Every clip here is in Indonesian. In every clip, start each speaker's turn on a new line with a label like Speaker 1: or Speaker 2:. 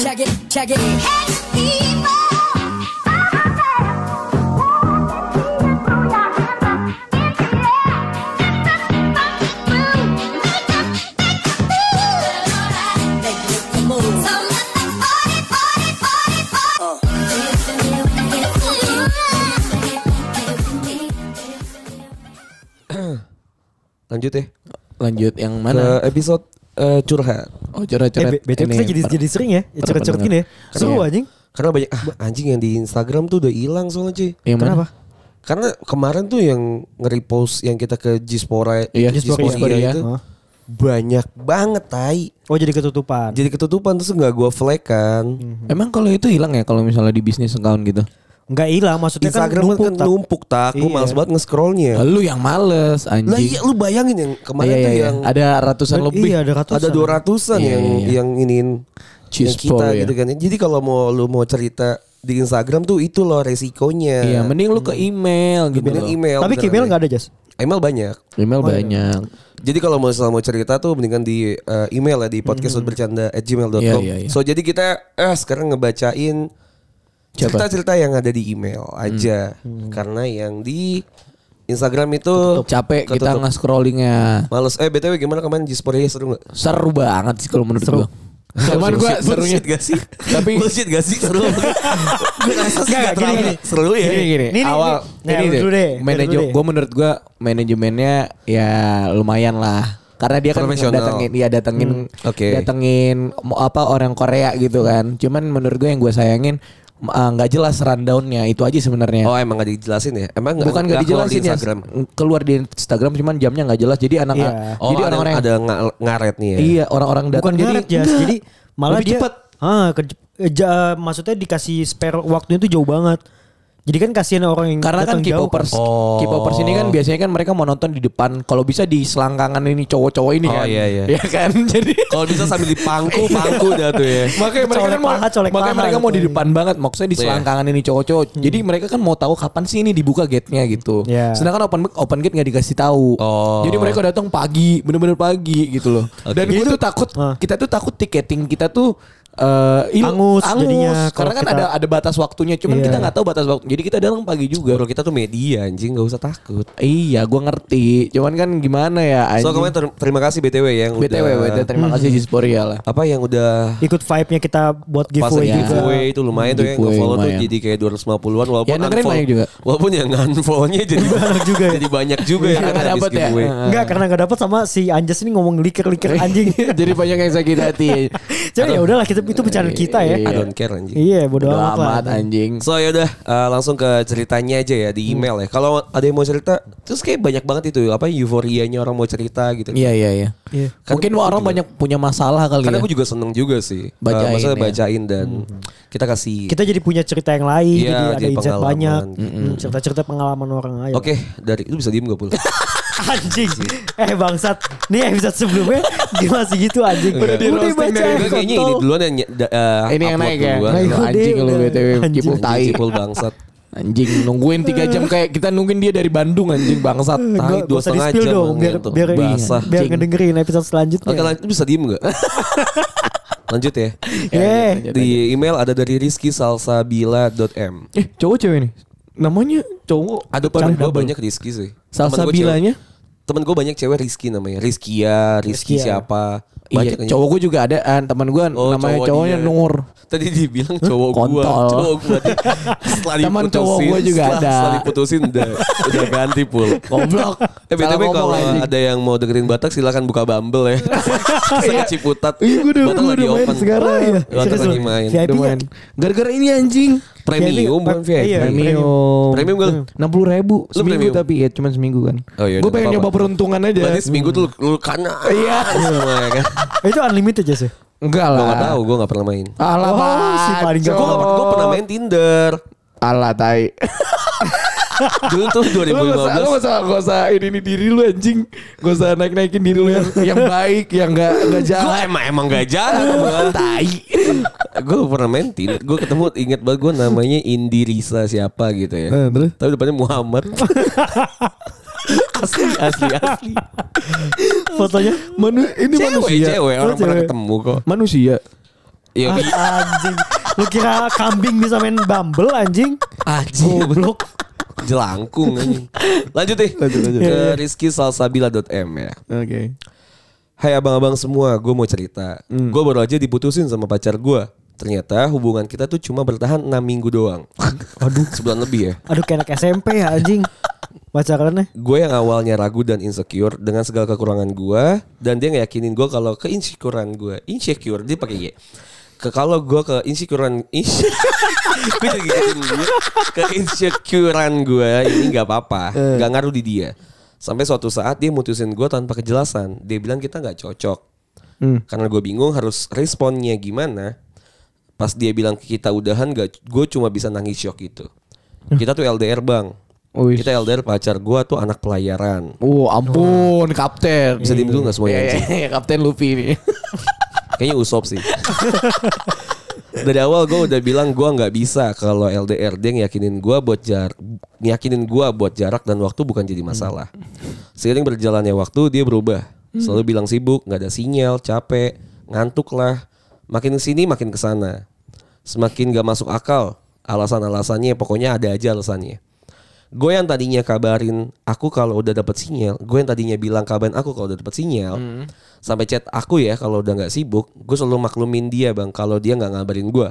Speaker 1: Check it. Make it the move.
Speaker 2: Lanjut ya
Speaker 3: Lanjut yang
Speaker 2: ke
Speaker 3: mana?
Speaker 2: episode eh, curhat.
Speaker 3: Oh curhat-curhat.
Speaker 4: Eh, BTW kita jadi, jadi sering ya, ya cerut-cerut gini ya. Seru
Speaker 3: Iya.
Speaker 4: anjing.
Speaker 2: Karena banyak ah, anjing yang di Instagram tuh udah hilang soalnya cuy.
Speaker 3: yang mana?
Speaker 4: Kenapa?
Speaker 2: Karena kemarin tuh yang nge-repost yang kita ke Jispora,
Speaker 3: Iya,
Speaker 2: Jispora,
Speaker 3: Jispora,
Speaker 2: iya
Speaker 3: iya.
Speaker 2: itu
Speaker 4: ya? Hah?
Speaker 2: banyak banget tai.
Speaker 4: Oh jadi ketutupan.
Speaker 2: Jadi ketutupan terus nggak gua flag kan.
Speaker 3: Emang kalau itu hilang ya kalau misalnya di bisnis account gitu?
Speaker 4: Enggak hilang maksudnya
Speaker 2: Instagram
Speaker 4: kan numpuk.
Speaker 2: kan numpuk tak, lu
Speaker 4: Iya.
Speaker 2: males banget nge-scrollnya.
Speaker 3: Lu yang males
Speaker 2: Iya.
Speaker 3: anjing.
Speaker 2: Lah iya lu bayangin yang kemarin
Speaker 3: Iya,
Speaker 2: tuh
Speaker 3: iya, iya.
Speaker 2: yang
Speaker 3: ada ratusan
Speaker 4: Iya,
Speaker 3: lebih.
Speaker 4: ada ratusan.
Speaker 2: ada 200-an
Speaker 3: Iya,
Speaker 2: yang
Speaker 3: iya, iya.
Speaker 2: yang iniin yang
Speaker 3: Cheese
Speaker 2: kita
Speaker 3: ball, ya.
Speaker 2: gitu kan. Jadi kalau mau lu mau cerita di Instagram tuh itu loh resikonya.
Speaker 3: Iya, mending lu ke email gitu.
Speaker 2: Mending
Speaker 3: loh.
Speaker 2: email.
Speaker 4: Tapi
Speaker 2: beneran
Speaker 4: email
Speaker 2: ya.
Speaker 4: enggak ada, Jas.
Speaker 2: Email banyak.
Speaker 3: Email banyak.
Speaker 2: Jadi kalau mau mau cerita tuh mendingan di eh, email ya di podcast bercanda at gmail.com.
Speaker 3: Mm-hmm. Iya, iya, iya.
Speaker 2: So jadi kita eh sekarang ngebacain
Speaker 3: Siapa? Hmm.
Speaker 2: cerita-cerita yang ada di email aja karena yang di Instagram itu
Speaker 3: Capek kita
Speaker 2: ketutup.
Speaker 3: nge-scrollingnya.
Speaker 2: Males eh BTW gimana kemarin Jispornya seru gak?
Speaker 3: Seru banget sih kalau menurut
Speaker 4: Seru.
Speaker 3: gua. Cuman gua
Speaker 2: Bullshit-
Speaker 3: serunya
Speaker 2: bullshit gak sih?
Speaker 3: Tapi-
Speaker 2: bullshit gak sih seru? Gue rasa sih
Speaker 4: Gak,
Speaker 2: gak terlalu
Speaker 4: gini, gini.
Speaker 2: seru ya.
Speaker 3: Gini gini,
Speaker 4: Ini, ini,
Speaker 3: awal
Speaker 4: ini. Nah, lu dulu deh, lu
Speaker 3: manajemen
Speaker 4: dulu deh.
Speaker 3: gua menurut gua manajemennya ya lumayan lah. Karena dia kan
Speaker 2: Profesional.
Speaker 3: datengin iya
Speaker 4: Hmm,
Speaker 3: datengin
Speaker 2: oke.
Speaker 3: datengin mo- apa orang Korea gitu kan. Cuman menurut gua yang gua sayangin m- ah, nggak jelas rundown-nya itu aja sebenarnya.
Speaker 2: Oh emang gak dijelasin ya? Emang gak,
Speaker 3: Bukan nggak
Speaker 2: keluar
Speaker 3: dijelasin
Speaker 2: di
Speaker 3: ya
Speaker 2: Instagram?
Speaker 3: keluar di Instagram cuman jamnya nggak jelas jadi anak
Speaker 4: Iya.
Speaker 2: Oh
Speaker 3: jadi
Speaker 2: ada,
Speaker 3: orang-orang
Speaker 2: ada nga- ngaret nih ya?
Speaker 3: iya orang-orang
Speaker 4: Bukan
Speaker 3: datang jadi
Speaker 4: ngaret, Jas.
Speaker 3: enggak.
Speaker 4: Jadi malah
Speaker 3: Lebih
Speaker 4: dia
Speaker 3: cepet.
Speaker 4: Ah, ke- eh, ja- maksudnya dikasih spare waktunya tuh jauh banget. Jadi kan kasihan orang yang
Speaker 3: Karena kan
Speaker 4: datang jauh kan.
Speaker 3: K-popers,
Speaker 2: Oh.
Speaker 3: K-popers ini kan biasanya kan mereka mau nonton di depan. Kalau bisa di selangkangan ini cowok-cowok ini
Speaker 2: Oh,
Speaker 3: kan.
Speaker 2: iya, iya.
Speaker 3: Ya kan. Jadi
Speaker 2: Kalau bisa sambil di pangku, pangku dah tuh ya.
Speaker 3: Iya. makanya mereka
Speaker 4: Colek
Speaker 3: kan mau,
Speaker 4: paha, colek
Speaker 3: makanya
Speaker 4: paha
Speaker 3: mereka mau di
Speaker 4: gitu. Hmm.
Speaker 3: depan banget. Maksudnya di
Speaker 2: Iya.
Speaker 3: selangkangan ini cowok-cowok. Jadi mereka kan mau tahu kapan sih ini dibuka gate-nya gitu.
Speaker 4: Iya.
Speaker 3: Sedangkan open open gate nggak dikasih tahu.
Speaker 2: Oh.
Speaker 3: Jadi mereka datang pagi, bener-bener pagi gitu loh. Dan
Speaker 2: Jadi
Speaker 3: gue tuh takut,
Speaker 4: Ah.
Speaker 3: kita tuh takut tiketing kita tuh eh, il-
Speaker 4: Angus
Speaker 3: karena
Speaker 4: jadinya kalau
Speaker 3: kan
Speaker 4: kita-
Speaker 3: ada ada batas waktunya. Cuman
Speaker 4: Iya.
Speaker 3: kita nggak tahu batas waktu. Jadi kita datang pagi juga.
Speaker 2: Bro kita tuh media anjing gak usah takut.
Speaker 3: Iya, gue ngerti. Cuman kan gimana ya?
Speaker 2: So
Speaker 3: anjing.
Speaker 2: kemarin ter- terima kasih BTW ya, yang
Speaker 3: BTW,
Speaker 2: udah Hmm.
Speaker 3: BTW, terima kasih Jisporia lah.
Speaker 2: apa yang udah
Speaker 4: ikut vibe-nya kita buat
Speaker 2: pasang
Speaker 4: giveaway
Speaker 3: ya.
Speaker 4: juga.
Speaker 2: giveaway itu lumayan tuh yang
Speaker 3: Giveaway
Speaker 2: follow tuh
Speaker 3: lumayan.
Speaker 2: jadi kayak 250-an walaupun
Speaker 3: Ya, dengerin banyak juga.
Speaker 2: walaupun yang unfollow-nya jadi banyak juga jadi banyak juga yang
Speaker 3: ya. Nggak
Speaker 2: habis
Speaker 3: dapet ya.
Speaker 2: giveaway.
Speaker 4: Enggak karena nggak dapat sama si Anjas ini ngomong liker-liker anjing.
Speaker 3: Jadi banyak yang sakit hati.
Speaker 4: Jadi ya udahlah kita itu bercanda kita ya.
Speaker 2: I don't care anjing.
Speaker 4: Iya, bodo
Speaker 3: Bodo
Speaker 4: amat lah.
Speaker 3: amat anjing.
Speaker 2: So ya udah eh, langsung ke ceritanya aja ya
Speaker 3: Hmm.
Speaker 2: di email ya. Kalau ada yang mau cerita, terus kayak banyak banget itu apa euforianya orang mau cerita gitu.
Speaker 3: Iya, iya, iya.
Speaker 4: Iya.
Speaker 3: Mungkin orang banyak punya masalah kali
Speaker 2: Kan Karena
Speaker 3: ya.
Speaker 2: aku juga seneng juga sih. Eh,
Speaker 3: Bacain
Speaker 2: maksudnya
Speaker 3: ya.
Speaker 2: bacain dan kita kasih.
Speaker 4: Kita jadi punya cerita yang lain,
Speaker 2: Iya,
Speaker 4: jadi ada
Speaker 2: jadi
Speaker 4: insight
Speaker 2: pengalaman.
Speaker 4: banyak. Hmm, Cerita-cerita pengalaman orang aja.
Speaker 2: Oke, dari itu bisa diem gak pula?
Speaker 4: Anjing. Eh bangsat. Nih episode sebelumnya dia masih gitu anjing.
Speaker 2: Udah di
Speaker 3: roasting
Speaker 4: baca
Speaker 3: dari-
Speaker 2: Enggak, Iya. kayaknya ini
Speaker 4: kontol.
Speaker 2: duluan yang ny- da- eh,
Speaker 3: Ini yang
Speaker 2: upload
Speaker 3: naik ya.
Speaker 2: duluan.
Speaker 4: Naik.
Speaker 3: Lu Anjing
Speaker 4: Udah,
Speaker 3: lu
Speaker 4: udah.
Speaker 3: BTW
Speaker 4: Anjing.
Speaker 3: cipul tai.
Speaker 2: Anjing, Cipul bangsat.
Speaker 3: Anjing nungguin 3 jam kayak kita nungguin dia dari Bandung anjing bangsat.
Speaker 2: Tai
Speaker 4: Nggak-
Speaker 2: dua
Speaker 4: nggak usah
Speaker 2: setengah
Speaker 4: di-spill
Speaker 2: jam
Speaker 4: dong, biar
Speaker 2: ngomong tuh.
Speaker 4: biar,
Speaker 2: Basah.
Speaker 4: biar
Speaker 3: Anjing.
Speaker 4: ngedengerin episode selanjutnya.
Speaker 3: Iya.
Speaker 2: Oke, lanjut bisa diem gak? lanjut ya.
Speaker 4: Ya,
Speaker 3: Ya, lanjut,
Speaker 2: Di email ada dari Rizky salsabila.m.
Speaker 3: Eh, cowok cewek nih. Namanya cowok.
Speaker 2: Aduh, temen gue banyak Rizky sih. Temen gua
Speaker 3: Salsabilanya?
Speaker 2: cewek. Temen gue banyak cewek Rizky namanya. Rizkia, Rizky
Speaker 4: Rizkia.
Speaker 2: siapa?
Speaker 3: Iya,
Speaker 2: Banyak
Speaker 3: cowok gue juga ada an, teman gue
Speaker 2: Oh,
Speaker 3: namanya
Speaker 2: cowok
Speaker 3: cowoknya
Speaker 2: dia.
Speaker 3: Nur.
Speaker 2: Tadi dibilang cowok gua,
Speaker 3: Kontol.
Speaker 2: cowok gua dia- setelah
Speaker 3: Teman
Speaker 2: diputusin,
Speaker 3: cowok gua juga
Speaker 2: setelah,
Speaker 3: ada.
Speaker 2: Setelah diputusin udah udah ganti pul.
Speaker 3: Goblok.
Speaker 2: Eh btw
Speaker 3: Salah
Speaker 2: kalau
Speaker 3: ngomong, anjing.
Speaker 2: ada yang mau dengerin Batak silakan buka Bumble ya. Saya Ciputat.
Speaker 3: Iya, gua udah-
Speaker 2: Batak
Speaker 3: gua
Speaker 2: lagi
Speaker 3: udah main
Speaker 2: open.
Speaker 3: sekarang.
Speaker 2: Batak
Speaker 3: Iya,
Speaker 4: serius
Speaker 2: lagi
Speaker 4: lu.
Speaker 2: main.
Speaker 4: VIP
Speaker 3: Udah
Speaker 4: -nya.
Speaker 3: main. Gara-gara ini anjing.
Speaker 2: Premium bukan
Speaker 4: Iya,
Speaker 2: VIP.
Speaker 4: iya.
Speaker 3: Premium.
Speaker 2: Premium gua lu.
Speaker 3: enam puluh ribu
Speaker 2: Lu
Speaker 3: seminggu
Speaker 2: premium?
Speaker 3: tapi ya cuman seminggu kan.
Speaker 2: Oh, iya,
Speaker 3: gue
Speaker 2: udah,
Speaker 3: pengen
Speaker 2: nggak
Speaker 3: nyoba
Speaker 2: apa-apa.
Speaker 3: peruntungan aja.
Speaker 2: Berarti seminggu tuh lu, lu kanan. Iya. Semua ya kan.
Speaker 4: Itu unlimited ya, aja sih.
Speaker 3: Enggak lah.
Speaker 2: Gua gak tahu, gua gak pernah main.
Speaker 3: Alah,
Speaker 4: Oh, si paling gak-
Speaker 2: Gua, gak pernah- gua pernah main Tinder.
Speaker 3: Alah tai.
Speaker 2: Dulu tuh
Speaker 3: Lu gak usah,
Speaker 2: 2015.
Speaker 3: lu gak usah, gak usah ini, ini diri lu anjing. Gak usah naik-naikin diri lu yang, yang baik, yang gak, gak
Speaker 2: Gue
Speaker 3: jahat.
Speaker 2: emang emang gak jalan Tai Gue pernah main Tinder Gue ketemu inget banget gue namanya Indirisa siapa gitu ya
Speaker 3: Eh, terus?
Speaker 2: Tapi depannya Muhammad Asli asli asli
Speaker 4: Fotonya
Speaker 3: Manu, ini
Speaker 2: Cewek
Speaker 3: manusia.
Speaker 2: cewek
Speaker 3: Oh,
Speaker 2: Orang pernah
Speaker 3: cewek.
Speaker 2: ketemu kok
Speaker 3: Manusia.
Speaker 2: Ya,
Speaker 4: anjing. Lu kira kambing bisa main bumble anjing?
Speaker 2: Anjing. Goblok. Jelangkung anjing. Lanjut Iya, deh.
Speaker 3: Lanjut, lanjut.
Speaker 2: Ke rizkysalsabila.m ya.
Speaker 3: Oke.
Speaker 2: Hai abang-abang semua, gue mau cerita. Gue baru aja diputusin sama pacar gue. Ternyata hubungan kita tuh cuma bertahan 6 minggu doang. Aduh, sebulan lebih ya.
Speaker 4: Aduh kayak anak SMP ya anjing. Pacarannya.
Speaker 2: Gue yang awalnya ragu dan insecure dengan segala kekurangan gue dan dia ngeyakinin gue kalau keinsecurean gue insecure dia pakai Y. Ke kalau gue ke insecurean ins gue jadi ngikutin dia ke insecurean gue ini nggak apa-apa, nggak ngaruh di dia. Sampai suatu saat dia mutusin gue tanpa kejelasan. Dia bilang kita nggak cocok.
Speaker 3: Hmm.
Speaker 2: Karena gue bingung harus responnya gimana. Pas dia bilang kita udahan, gue cuma bisa nangis shock gitu.
Speaker 3: Hmm.
Speaker 2: Kita tuh LDR bang.
Speaker 3: Wih.
Speaker 2: Kita LDR pacar gua tuh anak pelayaran.
Speaker 3: Oh ampun kapten.
Speaker 2: Bisa diem dulu nggak semuanya,
Speaker 3: Iya, iya,
Speaker 2: anjing?
Speaker 3: iya, kapten Luffy ini.
Speaker 2: Kayaknya usop sih. Dari awal gua udah bilang gua nggak bisa kalau LDR dia ngeyakinin gua buat jar, ngeyakinin gua buat jarak dan waktu bukan jadi masalah. Seiring berjalannya waktu dia berubah. Selalu bilang sibuk, nggak ada sinyal, capek, ngantuk lah. Makin kesini makin kesana. Semakin gak masuk akal alasan-alasannya, pokoknya ada aja alasannya. Gue yang tadinya kabarin aku kalau udah dapet sinyal, gue yang tadinya bilang kabarin aku kalau udah dapet sinyal, sampai chat aku ya kalau udah nggak sibuk, gue selalu maklumin dia bang kalau dia nggak ngabarin gue.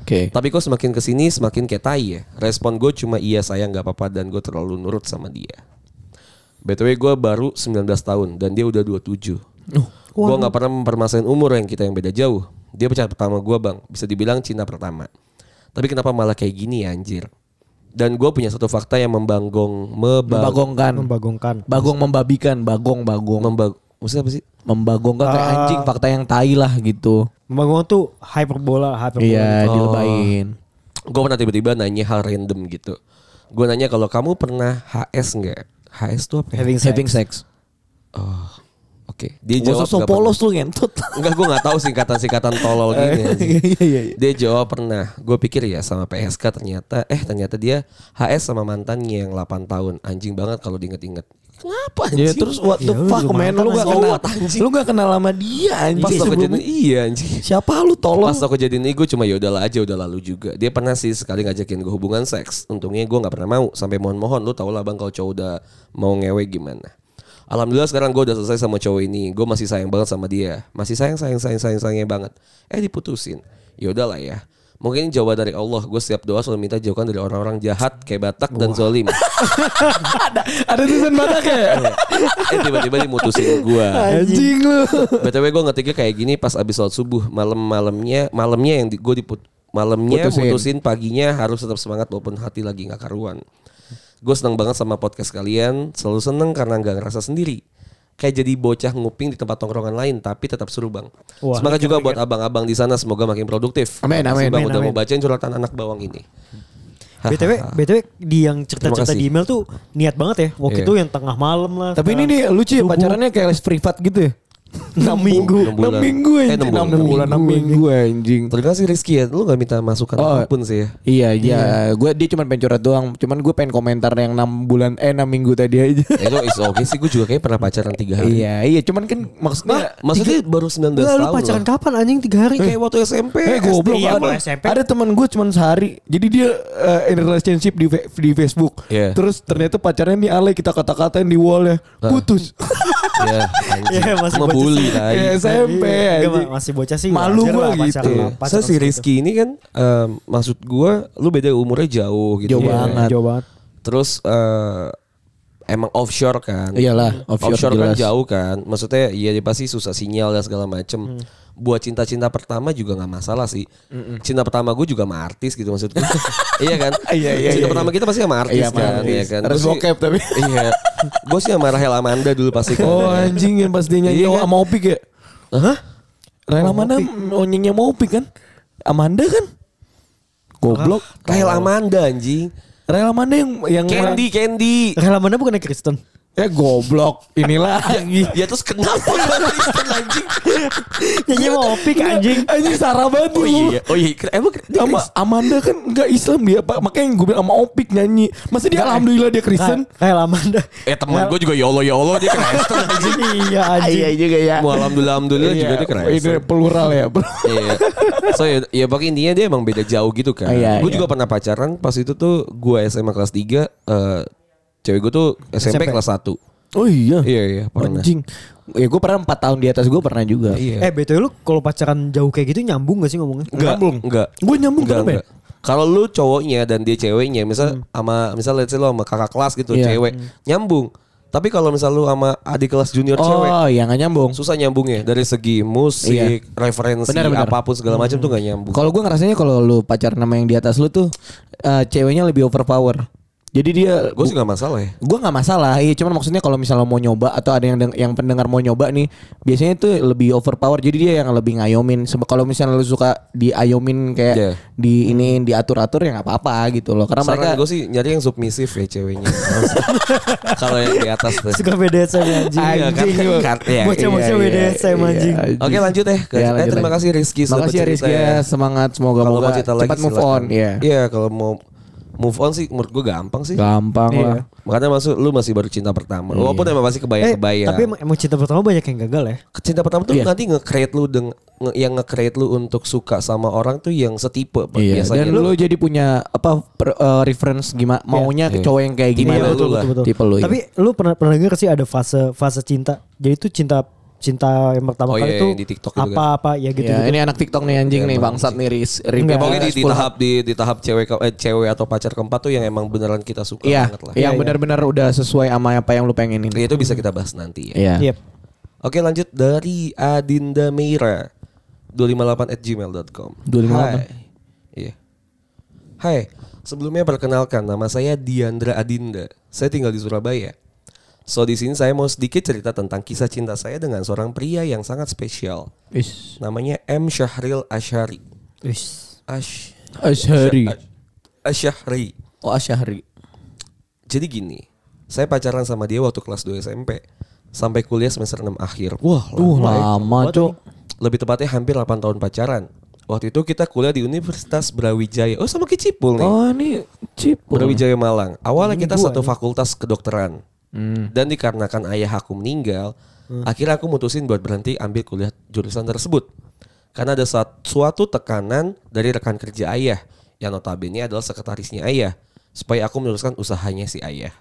Speaker 3: Oke.
Speaker 2: Tapi kok semakin kesini semakin kayak tai ya. Respon gue cuma iya sayang nggak apa-apa dan gue terlalu nurut sama dia. BTW gue baru 19 tahun dan dia udah 27. Gue nggak pernah mempermasalahin umur yang kita yang beda jauh. Dia pacar pertama gue bang, bisa dibilang cinta pertama. Tapi kenapa malah kayak gini ya anjir? Dan gue punya satu fakta yang membanggong, mebag,
Speaker 3: Membagongkan.
Speaker 4: Membagongkan.
Speaker 3: Bagong membabikan, bagong bagong.
Speaker 2: membag, maksudnya apa sih?
Speaker 3: Membagongkan kayak
Speaker 4: Ah.
Speaker 3: anjing fakta yang tai lah gitu.
Speaker 4: Membagongkan tuh hyperbola, hyperbola.
Speaker 3: Iya,
Speaker 2: Oh.
Speaker 3: dilebain.
Speaker 2: gue pernah tiba-tiba nanya hal random gitu. Gue nanya kalau kamu pernah HS nggak? HS tuh apa? ya?
Speaker 4: Having sex.
Speaker 3: Having sex.
Speaker 2: Oh, oke. Dia
Speaker 3: Gak
Speaker 2: jawab
Speaker 3: usah so
Speaker 2: nggak pernah.
Speaker 3: polos lu ngentut.
Speaker 2: Enggak, gue nggak tahu singkatan-singkatan tolol gini. anjing.
Speaker 3: Iya iya iya.
Speaker 2: Dia jawab pernah. Gue pikir ya sama PSK ternyata, eh ternyata dia HS sama mantannya yang 8 tahun. Anjing banget kalau diinget-inget. Kenapa anjing?
Speaker 3: Ya terus what the
Speaker 4: Ya, lu
Speaker 3: fuck
Speaker 4: juga
Speaker 3: man
Speaker 4: mantan
Speaker 3: lu gak
Speaker 2: anjing.
Speaker 3: kenal.
Speaker 2: Gawat, anjing.
Speaker 3: Lu gak kenal sama dia anjing.
Speaker 2: pas tau
Speaker 3: sebelumnya.
Speaker 2: kejadian iya anjing.
Speaker 3: Siapa lu tolong?
Speaker 2: Pas tau kejadian ini gue cuma ya udahlah aja udah lalu juga. Dia pernah sih sekali ngajakin gue hubungan seks. Untungnya gue nggak pernah mau sampai mohon-mohon. Lu tau lah bang kalau cowok udah mau ngewe gimana. Alhamdulillah sekarang gue udah selesai sama cowok ini. Gue masih sayang banget sama dia. Masih sayang sayang sayang sayang sayangnya banget. Eh diputusin. Ya udahlah ya. Mungkin ini jawaban dari Allah. Gue setiap doa selalu minta jauhkan dari orang-orang jahat kayak Batak dan Zolim.
Speaker 3: Ada tulisan batak ya?
Speaker 2: eh tiba-tiba dimutusin gue.
Speaker 3: Anjing lu.
Speaker 2: BTW gue ngetiknya kayak gini pas abis sholat subuh malam-malamnya malamnya yang di, gue diput malamnya
Speaker 3: Putusin.
Speaker 2: putusin. paginya harus tetap semangat walaupun hati lagi nggak karuan. Gue seneng banget sama podcast kalian, selalu seneng karena nggak ngerasa sendiri. Kayak jadi bocah nguping di tempat tongkrongan lain tapi tetap seru bang.
Speaker 4: Wah,
Speaker 2: Semangat juga buat abang-abang di sana semoga makin produktif.
Speaker 3: Amin,
Speaker 2: Makasih,
Speaker 3: amin,
Speaker 2: Bang
Speaker 4: amin,
Speaker 2: udah
Speaker 4: amin.
Speaker 2: mau bacain curhatan anak bawang ini.
Speaker 4: BTW, BTW di yang
Speaker 2: Terima
Speaker 4: cerita-cerita
Speaker 2: kasih.
Speaker 4: di email tuh niat banget ya. Waktu
Speaker 2: Iya.
Speaker 4: itu yang tengah malam lah.
Speaker 3: Tapi ini nih lucu ya
Speaker 4: Subuh.
Speaker 3: pacarannya kayak les privat gitu ya. 6
Speaker 2: minggu. Enam
Speaker 3: 6
Speaker 2: bulan.
Speaker 3: minggu
Speaker 2: Eh,
Speaker 3: anjing.
Speaker 2: enam
Speaker 3: 6
Speaker 2: bulan.
Speaker 3: bulan, 6 minggu anjing.
Speaker 2: Terima kasih Rizky ya, lu gak minta masukan
Speaker 3: Oh.
Speaker 2: apapun sih ya.
Speaker 3: Iya, iya. Gue dia cuma pengen curhat doang. Cuman gue pengen komentar yang 6 bulan eh 6 minggu tadi aja.
Speaker 2: Eh, Itu is okay sih, gue juga kayaknya pernah pacaran tiga hari.
Speaker 3: iya, iya. Cuman kan maksudnya
Speaker 2: Maksudnya baru 19
Speaker 4: Lah,
Speaker 2: tahun
Speaker 4: lu pacaran kapan anjing tiga hari kayak
Speaker 2: waktu SMP.
Speaker 3: Eh goblok ada,
Speaker 4: Iya, kalau SMP.
Speaker 3: ada teman gue cuman sehari. Jadi dia eh, in relationship di fe- di Facebook.
Speaker 2: Iya. Nah.
Speaker 3: Terus ternyata pacarnya nih Ale kita kata-katain di wall ya. Putus.
Speaker 2: ya, anjing.
Speaker 4: Iya, masih
Speaker 2: Cuma
Speaker 4: bocah
Speaker 2: bully
Speaker 4: sih.
Speaker 2: tai.
Speaker 3: Iya, SMP
Speaker 4: Iya, enggak,
Speaker 3: anjing.
Speaker 4: masih bocah sih
Speaker 3: Malu
Speaker 4: wajar
Speaker 3: gua
Speaker 4: lah pacaran
Speaker 3: gitu.
Speaker 4: lah,
Speaker 2: Iya.
Speaker 4: pacaran
Speaker 2: Saya si
Speaker 4: segitu.
Speaker 2: Rizky ini kan em, maksud gua lu beda umurnya jauh gitu.
Speaker 3: Jauh
Speaker 2: ya.
Speaker 3: banget.
Speaker 4: Jauh banget.
Speaker 2: Terus eh, emang offshore kan.
Speaker 3: Iyalah, offshore
Speaker 2: kan
Speaker 3: jelas.
Speaker 2: jauh kan. Maksudnya iya dia pasti susah sinyal dan segala macem.
Speaker 3: Hmm.
Speaker 2: Buat cinta-cinta pertama juga nggak masalah sih. Cinta pertama gue juga sama artis gitu maksud gua. iya kan?
Speaker 3: Iya, iya,
Speaker 2: Cinta
Speaker 3: iya,
Speaker 2: pertama kita pasti sama artis
Speaker 3: Iya, sama
Speaker 2: kan,
Speaker 3: artis.
Speaker 2: iya kan.
Speaker 3: Harus
Speaker 2: Gua sih-
Speaker 3: bokep tapi.
Speaker 2: iya. Gue sih sama Rahel Amanda dulu pasti kan.
Speaker 3: Oh anjing yang pas dia nyanyi
Speaker 2: Iya kan?
Speaker 3: sama Opik ya.
Speaker 2: Hah? Oh,
Speaker 3: Rela mana nyanyi sama Opik kan? Amanda kan? Goblok.
Speaker 2: Rahel Amanda anjing.
Speaker 3: Rela mana yang yang
Speaker 2: Ah. Candy, Candy.
Speaker 4: Rela mana bukan Kristen.
Speaker 3: Ya goblok inilah lagi.
Speaker 2: Ya terus kenapa gak Kristen anjing?
Speaker 4: Nyanyi mau opik anjing.
Speaker 3: Anjing Sarah banget
Speaker 2: Oh
Speaker 3: lu.
Speaker 2: iya, oh iya. Emang dia
Speaker 3: Sama
Speaker 2: Kristen?
Speaker 3: Amanda kan enggak Islam dia Pak. Makanya gue bilang sama Opik nyanyi. Masa dia alhamdulillah dia Kristen.
Speaker 4: Kayak laman dah.
Speaker 2: Eh
Speaker 3: Iya.
Speaker 2: teman gue juga yolo yolo dia Kristen anjing.
Speaker 4: Iya anjing.
Speaker 3: juga ya.
Speaker 2: Mau alhamdulillah alhamdulillah juga dia Kristen.
Speaker 3: Iya, Ini plural ya bro.
Speaker 2: Iya. So ya, ya pokoknya intinya dia emang beda jauh gitu kan.
Speaker 3: Ah, iya,
Speaker 2: gue
Speaker 3: iya.
Speaker 2: juga pernah pacaran pas itu tuh gue SMA kelas 3 eh cewek gue tuh SMP,
Speaker 4: SMP.
Speaker 2: kelas 1.
Speaker 3: Oh iya.
Speaker 2: Iya iya pernah.
Speaker 3: Anjing. Ya gue pernah 4 tahun di atas gue pernah juga.
Speaker 2: Iya.
Speaker 4: Eh BTW lu kalau pacaran jauh kayak gitu nyambung gak sih ngomongnya?
Speaker 2: Enggak,
Speaker 3: Nyambung.
Speaker 2: enggak.
Speaker 3: Gue nyambung
Speaker 2: Enggak,
Speaker 3: kenapa ya? Hmm.
Speaker 2: enggak. Kalau lu cowoknya dan dia ceweknya, misal sama misal let's say lu sama kakak kelas gitu,
Speaker 3: Iya.
Speaker 2: cewek, nyambung. Tapi kalau misal lu sama adik kelas junior cewek,
Speaker 3: Oh iya gak nyambung. Iya.
Speaker 2: susah nyambungnya dari segi musik, referensi,
Speaker 3: Benar, Hmm. benar.
Speaker 2: apapun segala macam tuh gak nyambung.
Speaker 3: Kalau gue ngerasanya kalau lu pacar nama yang di atas lu tuh eh, ceweknya lebih overpower. Jadi dia
Speaker 2: Gue sih gak masalah ya.
Speaker 3: gue nggak masalah iya cuman maksudnya kalau misalnya mau nyoba atau ada yang deng- yang pendengar mau nyoba nih biasanya itu lebih overpower jadi dia yang lebih ngayomin Sebe- kalau misalnya lu suka diayomin kayak
Speaker 2: Iya.
Speaker 3: di ini diatur atur ya nggak apa apa gitu loh karena mereka
Speaker 2: Saran gue sih nyari yang submisif ya ceweknya. Kalau yang di atas tuh.
Speaker 4: Suka BDSM anjing.
Speaker 2: Iya, kan- kan- iya,
Speaker 4: Bocah-bocah
Speaker 3: Iya, iya,
Speaker 4: BDSM
Speaker 3: iya,
Speaker 4: anjing.
Speaker 3: anjing.
Speaker 2: Oke lanjut ya.
Speaker 3: Iya,
Speaker 2: Eh,
Speaker 3: lanjut,
Speaker 2: terima
Speaker 3: lanjut.
Speaker 2: kasih Rizky sudah
Speaker 3: makasih ya
Speaker 2: bercerita
Speaker 3: Rizky ya. semangat semoga
Speaker 2: Kalau
Speaker 3: moga
Speaker 2: mau cerita
Speaker 3: cepat
Speaker 2: lagi
Speaker 3: move
Speaker 2: silakan.
Speaker 3: on ya
Speaker 2: Iya kalau mau move on sih menurut gue gampang sih.
Speaker 3: gampang Iya.
Speaker 4: Iya.
Speaker 3: lah
Speaker 2: Makanya masuk lu masih baru cinta pertama. Walaupun emang masih
Speaker 4: Eh,
Speaker 2: kebayang-kebayang.
Speaker 4: tapi emang, emang cinta pertama banyak yang gagal ya.
Speaker 2: cinta pertama tuh
Speaker 3: Iya.
Speaker 2: nanti nge-create lu deng nge- yang nge-create lu untuk suka sama orang tuh yang setipe Pak,
Speaker 3: Iya,
Speaker 2: biasanya.
Speaker 3: dan lu, jadi punya apa per- eh, reference gimana maunya
Speaker 2: Iya.
Speaker 3: cowok yang kayak
Speaker 2: Tipe
Speaker 3: gimana?
Speaker 2: lu lah.
Speaker 3: Tipe lu. iya.
Speaker 4: Tapi lu pernah pernah denger sih ada fase fase cinta. Jadi itu cinta cinta yang
Speaker 2: Oh
Speaker 4: pertama kali
Speaker 2: iya,
Speaker 4: itu
Speaker 2: yang di TikTok itu
Speaker 4: apa apa ya gitu.
Speaker 3: Ya, ini anak TikTok nih anjing nih bangsat nih Riz. Rip-
Speaker 2: Ya,
Speaker 4: Enggak,
Speaker 2: Iya, pokoknya di, di
Speaker 3: 10.
Speaker 2: tahap di, di tahap cewek ke- eh, cewek atau pacar keempat tuh yang emang beneran kita suka
Speaker 3: Iya,
Speaker 2: banget lah.
Speaker 3: yang
Speaker 4: Iya,
Speaker 3: benar-benar udah sesuai sama apa yang lu pengenin.
Speaker 2: Ya, itu bisa kita bahas nanti ya.
Speaker 3: Iya.
Speaker 4: Yep.
Speaker 2: Oke lanjut dari Adinda Meira 258 at gmail.com
Speaker 3: 258.
Speaker 2: Iya Hai Sebelumnya perkenalkan nama saya Diandra Adinda Saya tinggal di Surabaya So di sini saya mau sedikit cerita tentang kisah cinta saya dengan seorang pria yang sangat spesial
Speaker 3: Is
Speaker 2: Namanya M. Syahril Ashari
Speaker 4: Wis.
Speaker 2: Ash
Speaker 3: Ashari.
Speaker 2: Ashari
Speaker 3: Oh Ashari.
Speaker 2: Jadi gini Saya pacaran sama dia waktu kelas 2 SMP Sampai kuliah semester 6 akhir Wah
Speaker 3: Tuh lama, Cok.
Speaker 2: Lebih tepatnya hampir 8 tahun pacaran. Waktu itu kita kuliah di Universitas Brawijaya. Oh sama kayak Cipul nih.
Speaker 3: Oh ini chip. Hmm.
Speaker 2: Brawijaya Malang. Awalnya kita satu fakultas kedokteran.
Speaker 3: Hmm.
Speaker 2: Dan dikarenakan ayah aku meninggal, akhirnya aku mutusin buat berhenti ambil kuliah jurusan tersebut. Karena ada saat- suatu tekanan dari rekan kerja ayah yang notabene adalah sekretarisnya ayah supaya aku meneruskan usahanya si ayah.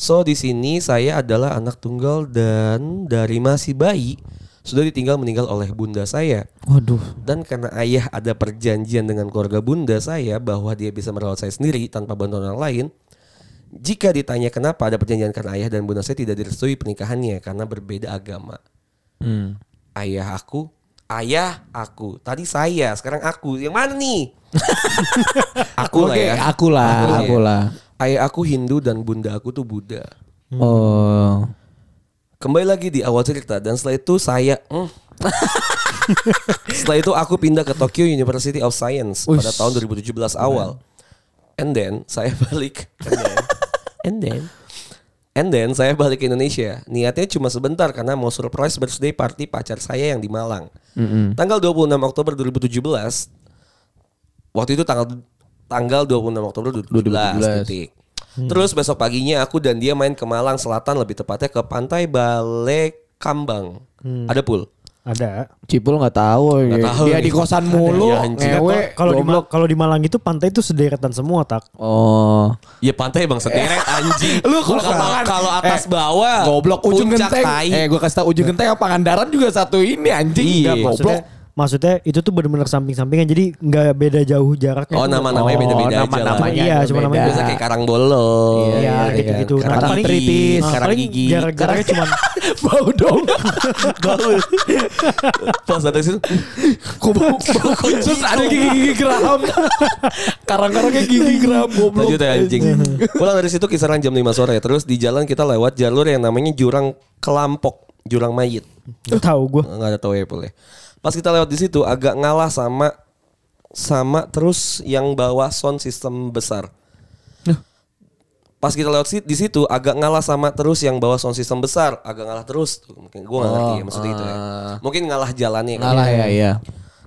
Speaker 2: So di sini saya adalah anak tunggal dan dari masih bayi sudah ditinggal meninggal oleh bunda saya.
Speaker 3: Waduh.
Speaker 2: Dan karena ayah ada perjanjian dengan keluarga bunda saya bahwa dia bisa merawat saya sendiri tanpa bantuan orang lain. Jika ditanya kenapa ada perjanjian karena ayah dan bunda saya tidak direstui pernikahannya karena berbeda agama. Hmm. Ayah aku, ayah aku. Tadi saya, sekarang aku. Yang mana nih? aku lah
Speaker 3: Oke,
Speaker 2: ya.
Speaker 3: aku lah, aku
Speaker 2: ya.
Speaker 3: lah.
Speaker 2: Ayah aku Hindu dan bunda aku tuh Buddha.
Speaker 3: Oh.
Speaker 2: Kembali lagi di awal cerita dan setelah itu saya mm. Setelah itu aku pindah ke Tokyo University of Science pada tahun 2017 awal. And then saya balik. And then, and then and then saya balik ke Indonesia. Niatnya cuma sebentar karena mau surprise birthday party pacar saya yang di Malang. Tanggal 26 Oktober 2017 waktu itu tanggal tanggal 26 Oktober 2017 titik. Terus besok paginya aku dan dia main ke Malang Selatan lebih tepatnya ke Pantai Balai Kambang. Ada pool.
Speaker 4: Ada.
Speaker 3: Cipul nggak tahu,
Speaker 2: Nggak
Speaker 3: ya.
Speaker 2: tahu
Speaker 3: dia
Speaker 2: nih.
Speaker 3: di kosan mulu,
Speaker 2: Ya, anjing.
Speaker 3: ngewe,
Speaker 4: Kalau- Kalau di Ma-
Speaker 3: goblok.
Speaker 4: kalau di Malang itu pantai itu sederetan semua tak.
Speaker 3: Oh,
Speaker 2: Ya pantai bang sederet anjing.
Speaker 3: Lu
Speaker 2: Gua
Speaker 3: kalau-
Speaker 2: kalau atas
Speaker 3: eh,
Speaker 2: bawah
Speaker 3: goblok ujung
Speaker 2: Ah, puncak
Speaker 3: genteng.
Speaker 2: tai. Nah.
Speaker 3: Eh, gua kasih tau ujung genteng apa Pangandaran juga satu ini anjing.
Speaker 2: Iya.
Speaker 3: Nggak, goblok.
Speaker 4: Maksudnya maksudnya itu tuh benar-benar samping-sampingan jadi nggak beda jauh jaraknya.
Speaker 2: Oh,
Speaker 4: Itu
Speaker 2: nama-
Speaker 4: nggak-
Speaker 2: namanya
Speaker 3: Oh,
Speaker 2: beda-beda aja lah.
Speaker 3: nama-namanya
Speaker 4: Iya,
Speaker 3: agak
Speaker 4: cuma
Speaker 3: beda.
Speaker 4: namanya
Speaker 2: Biasa kayak karang bolo.
Speaker 4: Iya,
Speaker 2: ya kan?
Speaker 4: gitu-gitu. Nah,
Speaker 2: Karang
Speaker 4: paling-
Speaker 2: gigi,
Speaker 4: Nah,
Speaker 2: karang
Speaker 4: paling
Speaker 2: gigi.
Speaker 4: jarak-jaraknya cuma
Speaker 3: bau dong.
Speaker 2: Bau. Pas ada situ.
Speaker 3: Kok bau? bau kunci. Terus ada gigi-gigi geram. Karang-karangnya gigi geram goblok.
Speaker 2: Lanjut ya anjing. Pulang dari situ kisaran jam 5 sore. Terus di jalan kita lewat jalur yang namanya jurang kelampok, jurang mayit.
Speaker 4: Nggak tahu gue.
Speaker 2: Nggak ada tahu ya boleh. Pas kita lewat di situ agak ngalah sama sama terus yang bawa sound system besar. pas kita lewat si- di situ agak ngalah sama terus yang bawa sound system besar agak ngalah terus mungkin gue nggak ngerti ya, maksudnya gitu ya mungkin ngalah jalannya kali.
Speaker 3: Ngalah ya, iya.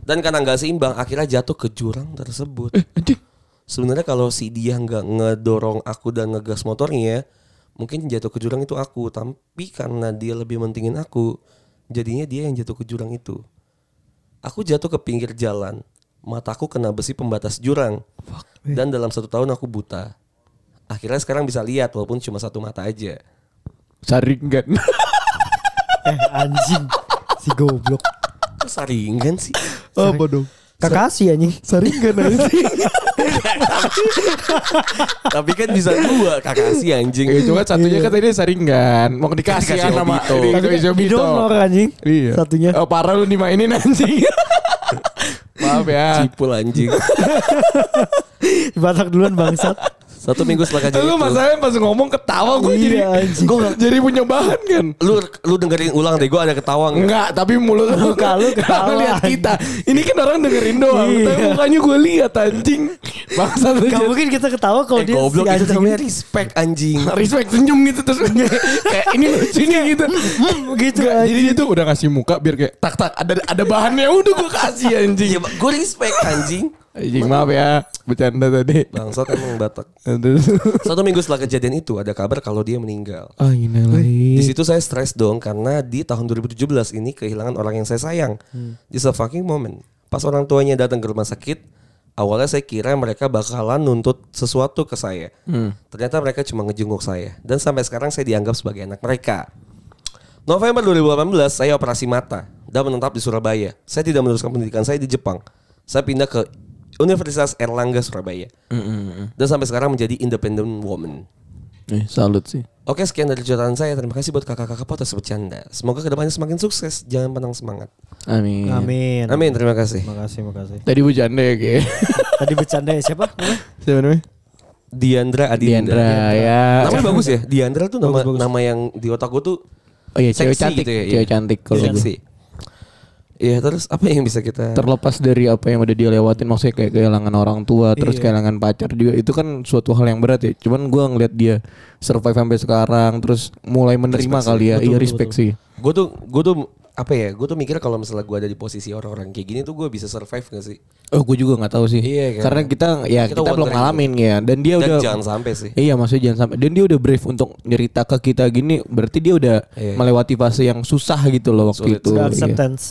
Speaker 2: dan karena nggak seimbang akhirnya jatuh ke jurang tersebut sebenarnya kalau si dia nggak ngedorong aku dan ngegas motornya mungkin jatuh ke jurang itu aku tapi karena dia lebih mentingin aku jadinya dia yang jatuh ke jurang itu aku jatuh ke pinggir jalan mataku kena besi pembatas jurang dan dalam satu tahun aku buta akhirnya sekarang bisa lihat walaupun cuma satu mata aja
Speaker 3: Saringan.
Speaker 4: eh anjing si goblok
Speaker 2: Kok Kan saringan sih
Speaker 3: Apa dong?
Speaker 4: Kakashi anjing
Speaker 3: Saringan anjing.
Speaker 2: tapi kan bisa dua kakak si anjing
Speaker 3: Ya cuma satunya kan tadi saringan. Mau dikasih
Speaker 2: Dikasih
Speaker 3: kan sama
Speaker 2: Obito.
Speaker 3: di-
Speaker 4: Tapi
Speaker 3: dikasih
Speaker 4: kan di
Speaker 3: Obito.
Speaker 4: donor anjing
Speaker 3: Iya.
Speaker 4: Satunya
Speaker 3: Oh, parah lu dimainin anjing. Maaf ya.
Speaker 2: cipul anjing
Speaker 4: Dibatak duluan bangsat
Speaker 2: satu minggu setelah kejadian itu-
Speaker 3: Lu masalahnya pas ngomong ketawa gue
Speaker 4: Iya,
Speaker 3: jadi Oh,
Speaker 4: anjing.
Speaker 3: gua nggak- jadi punya bahan kan.
Speaker 2: lu lu dengerin ulang deh gue ada ketawa nggak
Speaker 3: Enggak, tapi mulut lu
Speaker 4: Muka lu ketawa.
Speaker 3: Karena lihat kita. Ini kan orang dengerin doang,
Speaker 4: Iya.
Speaker 3: tapi mukanya gue lihat anjing. Bangsa lu
Speaker 4: Gak mungkin kita ketawa kalau
Speaker 2: eh,
Speaker 4: dia
Speaker 2: goblok
Speaker 4: si
Speaker 2: itu
Speaker 4: anjing
Speaker 2: namanya respect anjing
Speaker 3: respect senyum gitu terus kayak ini lucunya gitu.
Speaker 2: Hmm,
Speaker 4: gitu,
Speaker 3: Nggak, jadi
Speaker 4: anjing.
Speaker 3: dia tuh udah ngasih muka biar kayak tak tak ada ada bahannya udah gue kasih
Speaker 2: iya
Speaker 3: anjing.
Speaker 2: gue respect anjing
Speaker 3: Anjing maaf ya, bercanda tadi.
Speaker 2: bangsat emang batak
Speaker 3: Terus
Speaker 2: satu minggu setelah kejadian itu ada kabar kalau dia meninggal
Speaker 3: ah ini lagi.
Speaker 2: di situ saya stres dong karena di tahun 2017 ini kehilangan orang yang saya sayang It's a fucking moment pas orang tuanya datang ke rumah sakit awalnya saya kira mereka bakalan nuntut sesuatu ke saya ternyata mereka cuma ngejenguk saya dan sampai sekarang saya dianggap sebagai anak mereka November 2018 saya operasi mata dan menetap di Surabaya. Saya tidak meneruskan pendidikan saya di Jepang. Saya pindah ke Universitas Erlangga Surabaya. Dan sampai sekarang menjadi independent woman.
Speaker 3: Eh, salut sih.
Speaker 2: Oke, sekian dari curhatan saya. Terima kasih buat kakak-kakak potas bercanda. Semoga kedepannya semakin sukses. Jangan menang semangat.
Speaker 3: Hmm. Amin.
Speaker 4: Amin
Speaker 2: Amin. Terima kasih.
Speaker 4: Makasih makasih
Speaker 3: Tadi bercanda ya kayak.
Speaker 4: Tadi bercanda ya siapa?
Speaker 3: Siapa namanya?
Speaker 2: Diandra Adinda. Iya.
Speaker 3: Diandra ya.
Speaker 2: Namanya bagus ya. Diandra tuh nama
Speaker 4: Bagus, bagus.
Speaker 2: nama yang di otak gue tuh
Speaker 3: Oh iya,
Speaker 2: seksi
Speaker 3: cewek cantik,
Speaker 2: gitu ya.
Speaker 3: cewek cantik kalau gitu.
Speaker 2: Iya.
Speaker 3: gue.
Speaker 2: Seksi. Iya, terus apa yang bisa kita
Speaker 3: terlepas dari apa yang udah dia lewatin maksudnya kayak kehilangan orang tua terus kehilangan pacar juga itu kan suatu hal yang berat ya cuman gua ngeliat dia survive sampai sekarang terus mulai menerima kali ya iya respect sih
Speaker 2: gue tuh gue tuh apa ya gue tuh mikir kalau misalnya gue ada di posisi orang-orang kayak gini tuh gue bisa survive gak sih
Speaker 3: oh gue juga nggak tahu sih
Speaker 2: Iya, kan.
Speaker 3: karena kita ya
Speaker 2: Kita
Speaker 3: kita, belum
Speaker 2: wondering.
Speaker 3: ngalamin ya dan dia
Speaker 2: dan
Speaker 3: udah
Speaker 2: jangan sampai sih
Speaker 3: Iya maksudnya jangan sampai dan dia udah brave untuk nyerita ke kita gini berarti dia udah
Speaker 2: Iya.
Speaker 3: melewati fase yang susah gitu loh waktu
Speaker 2: Sulit.
Speaker 3: itu. Iya.
Speaker 4: Sudah acceptance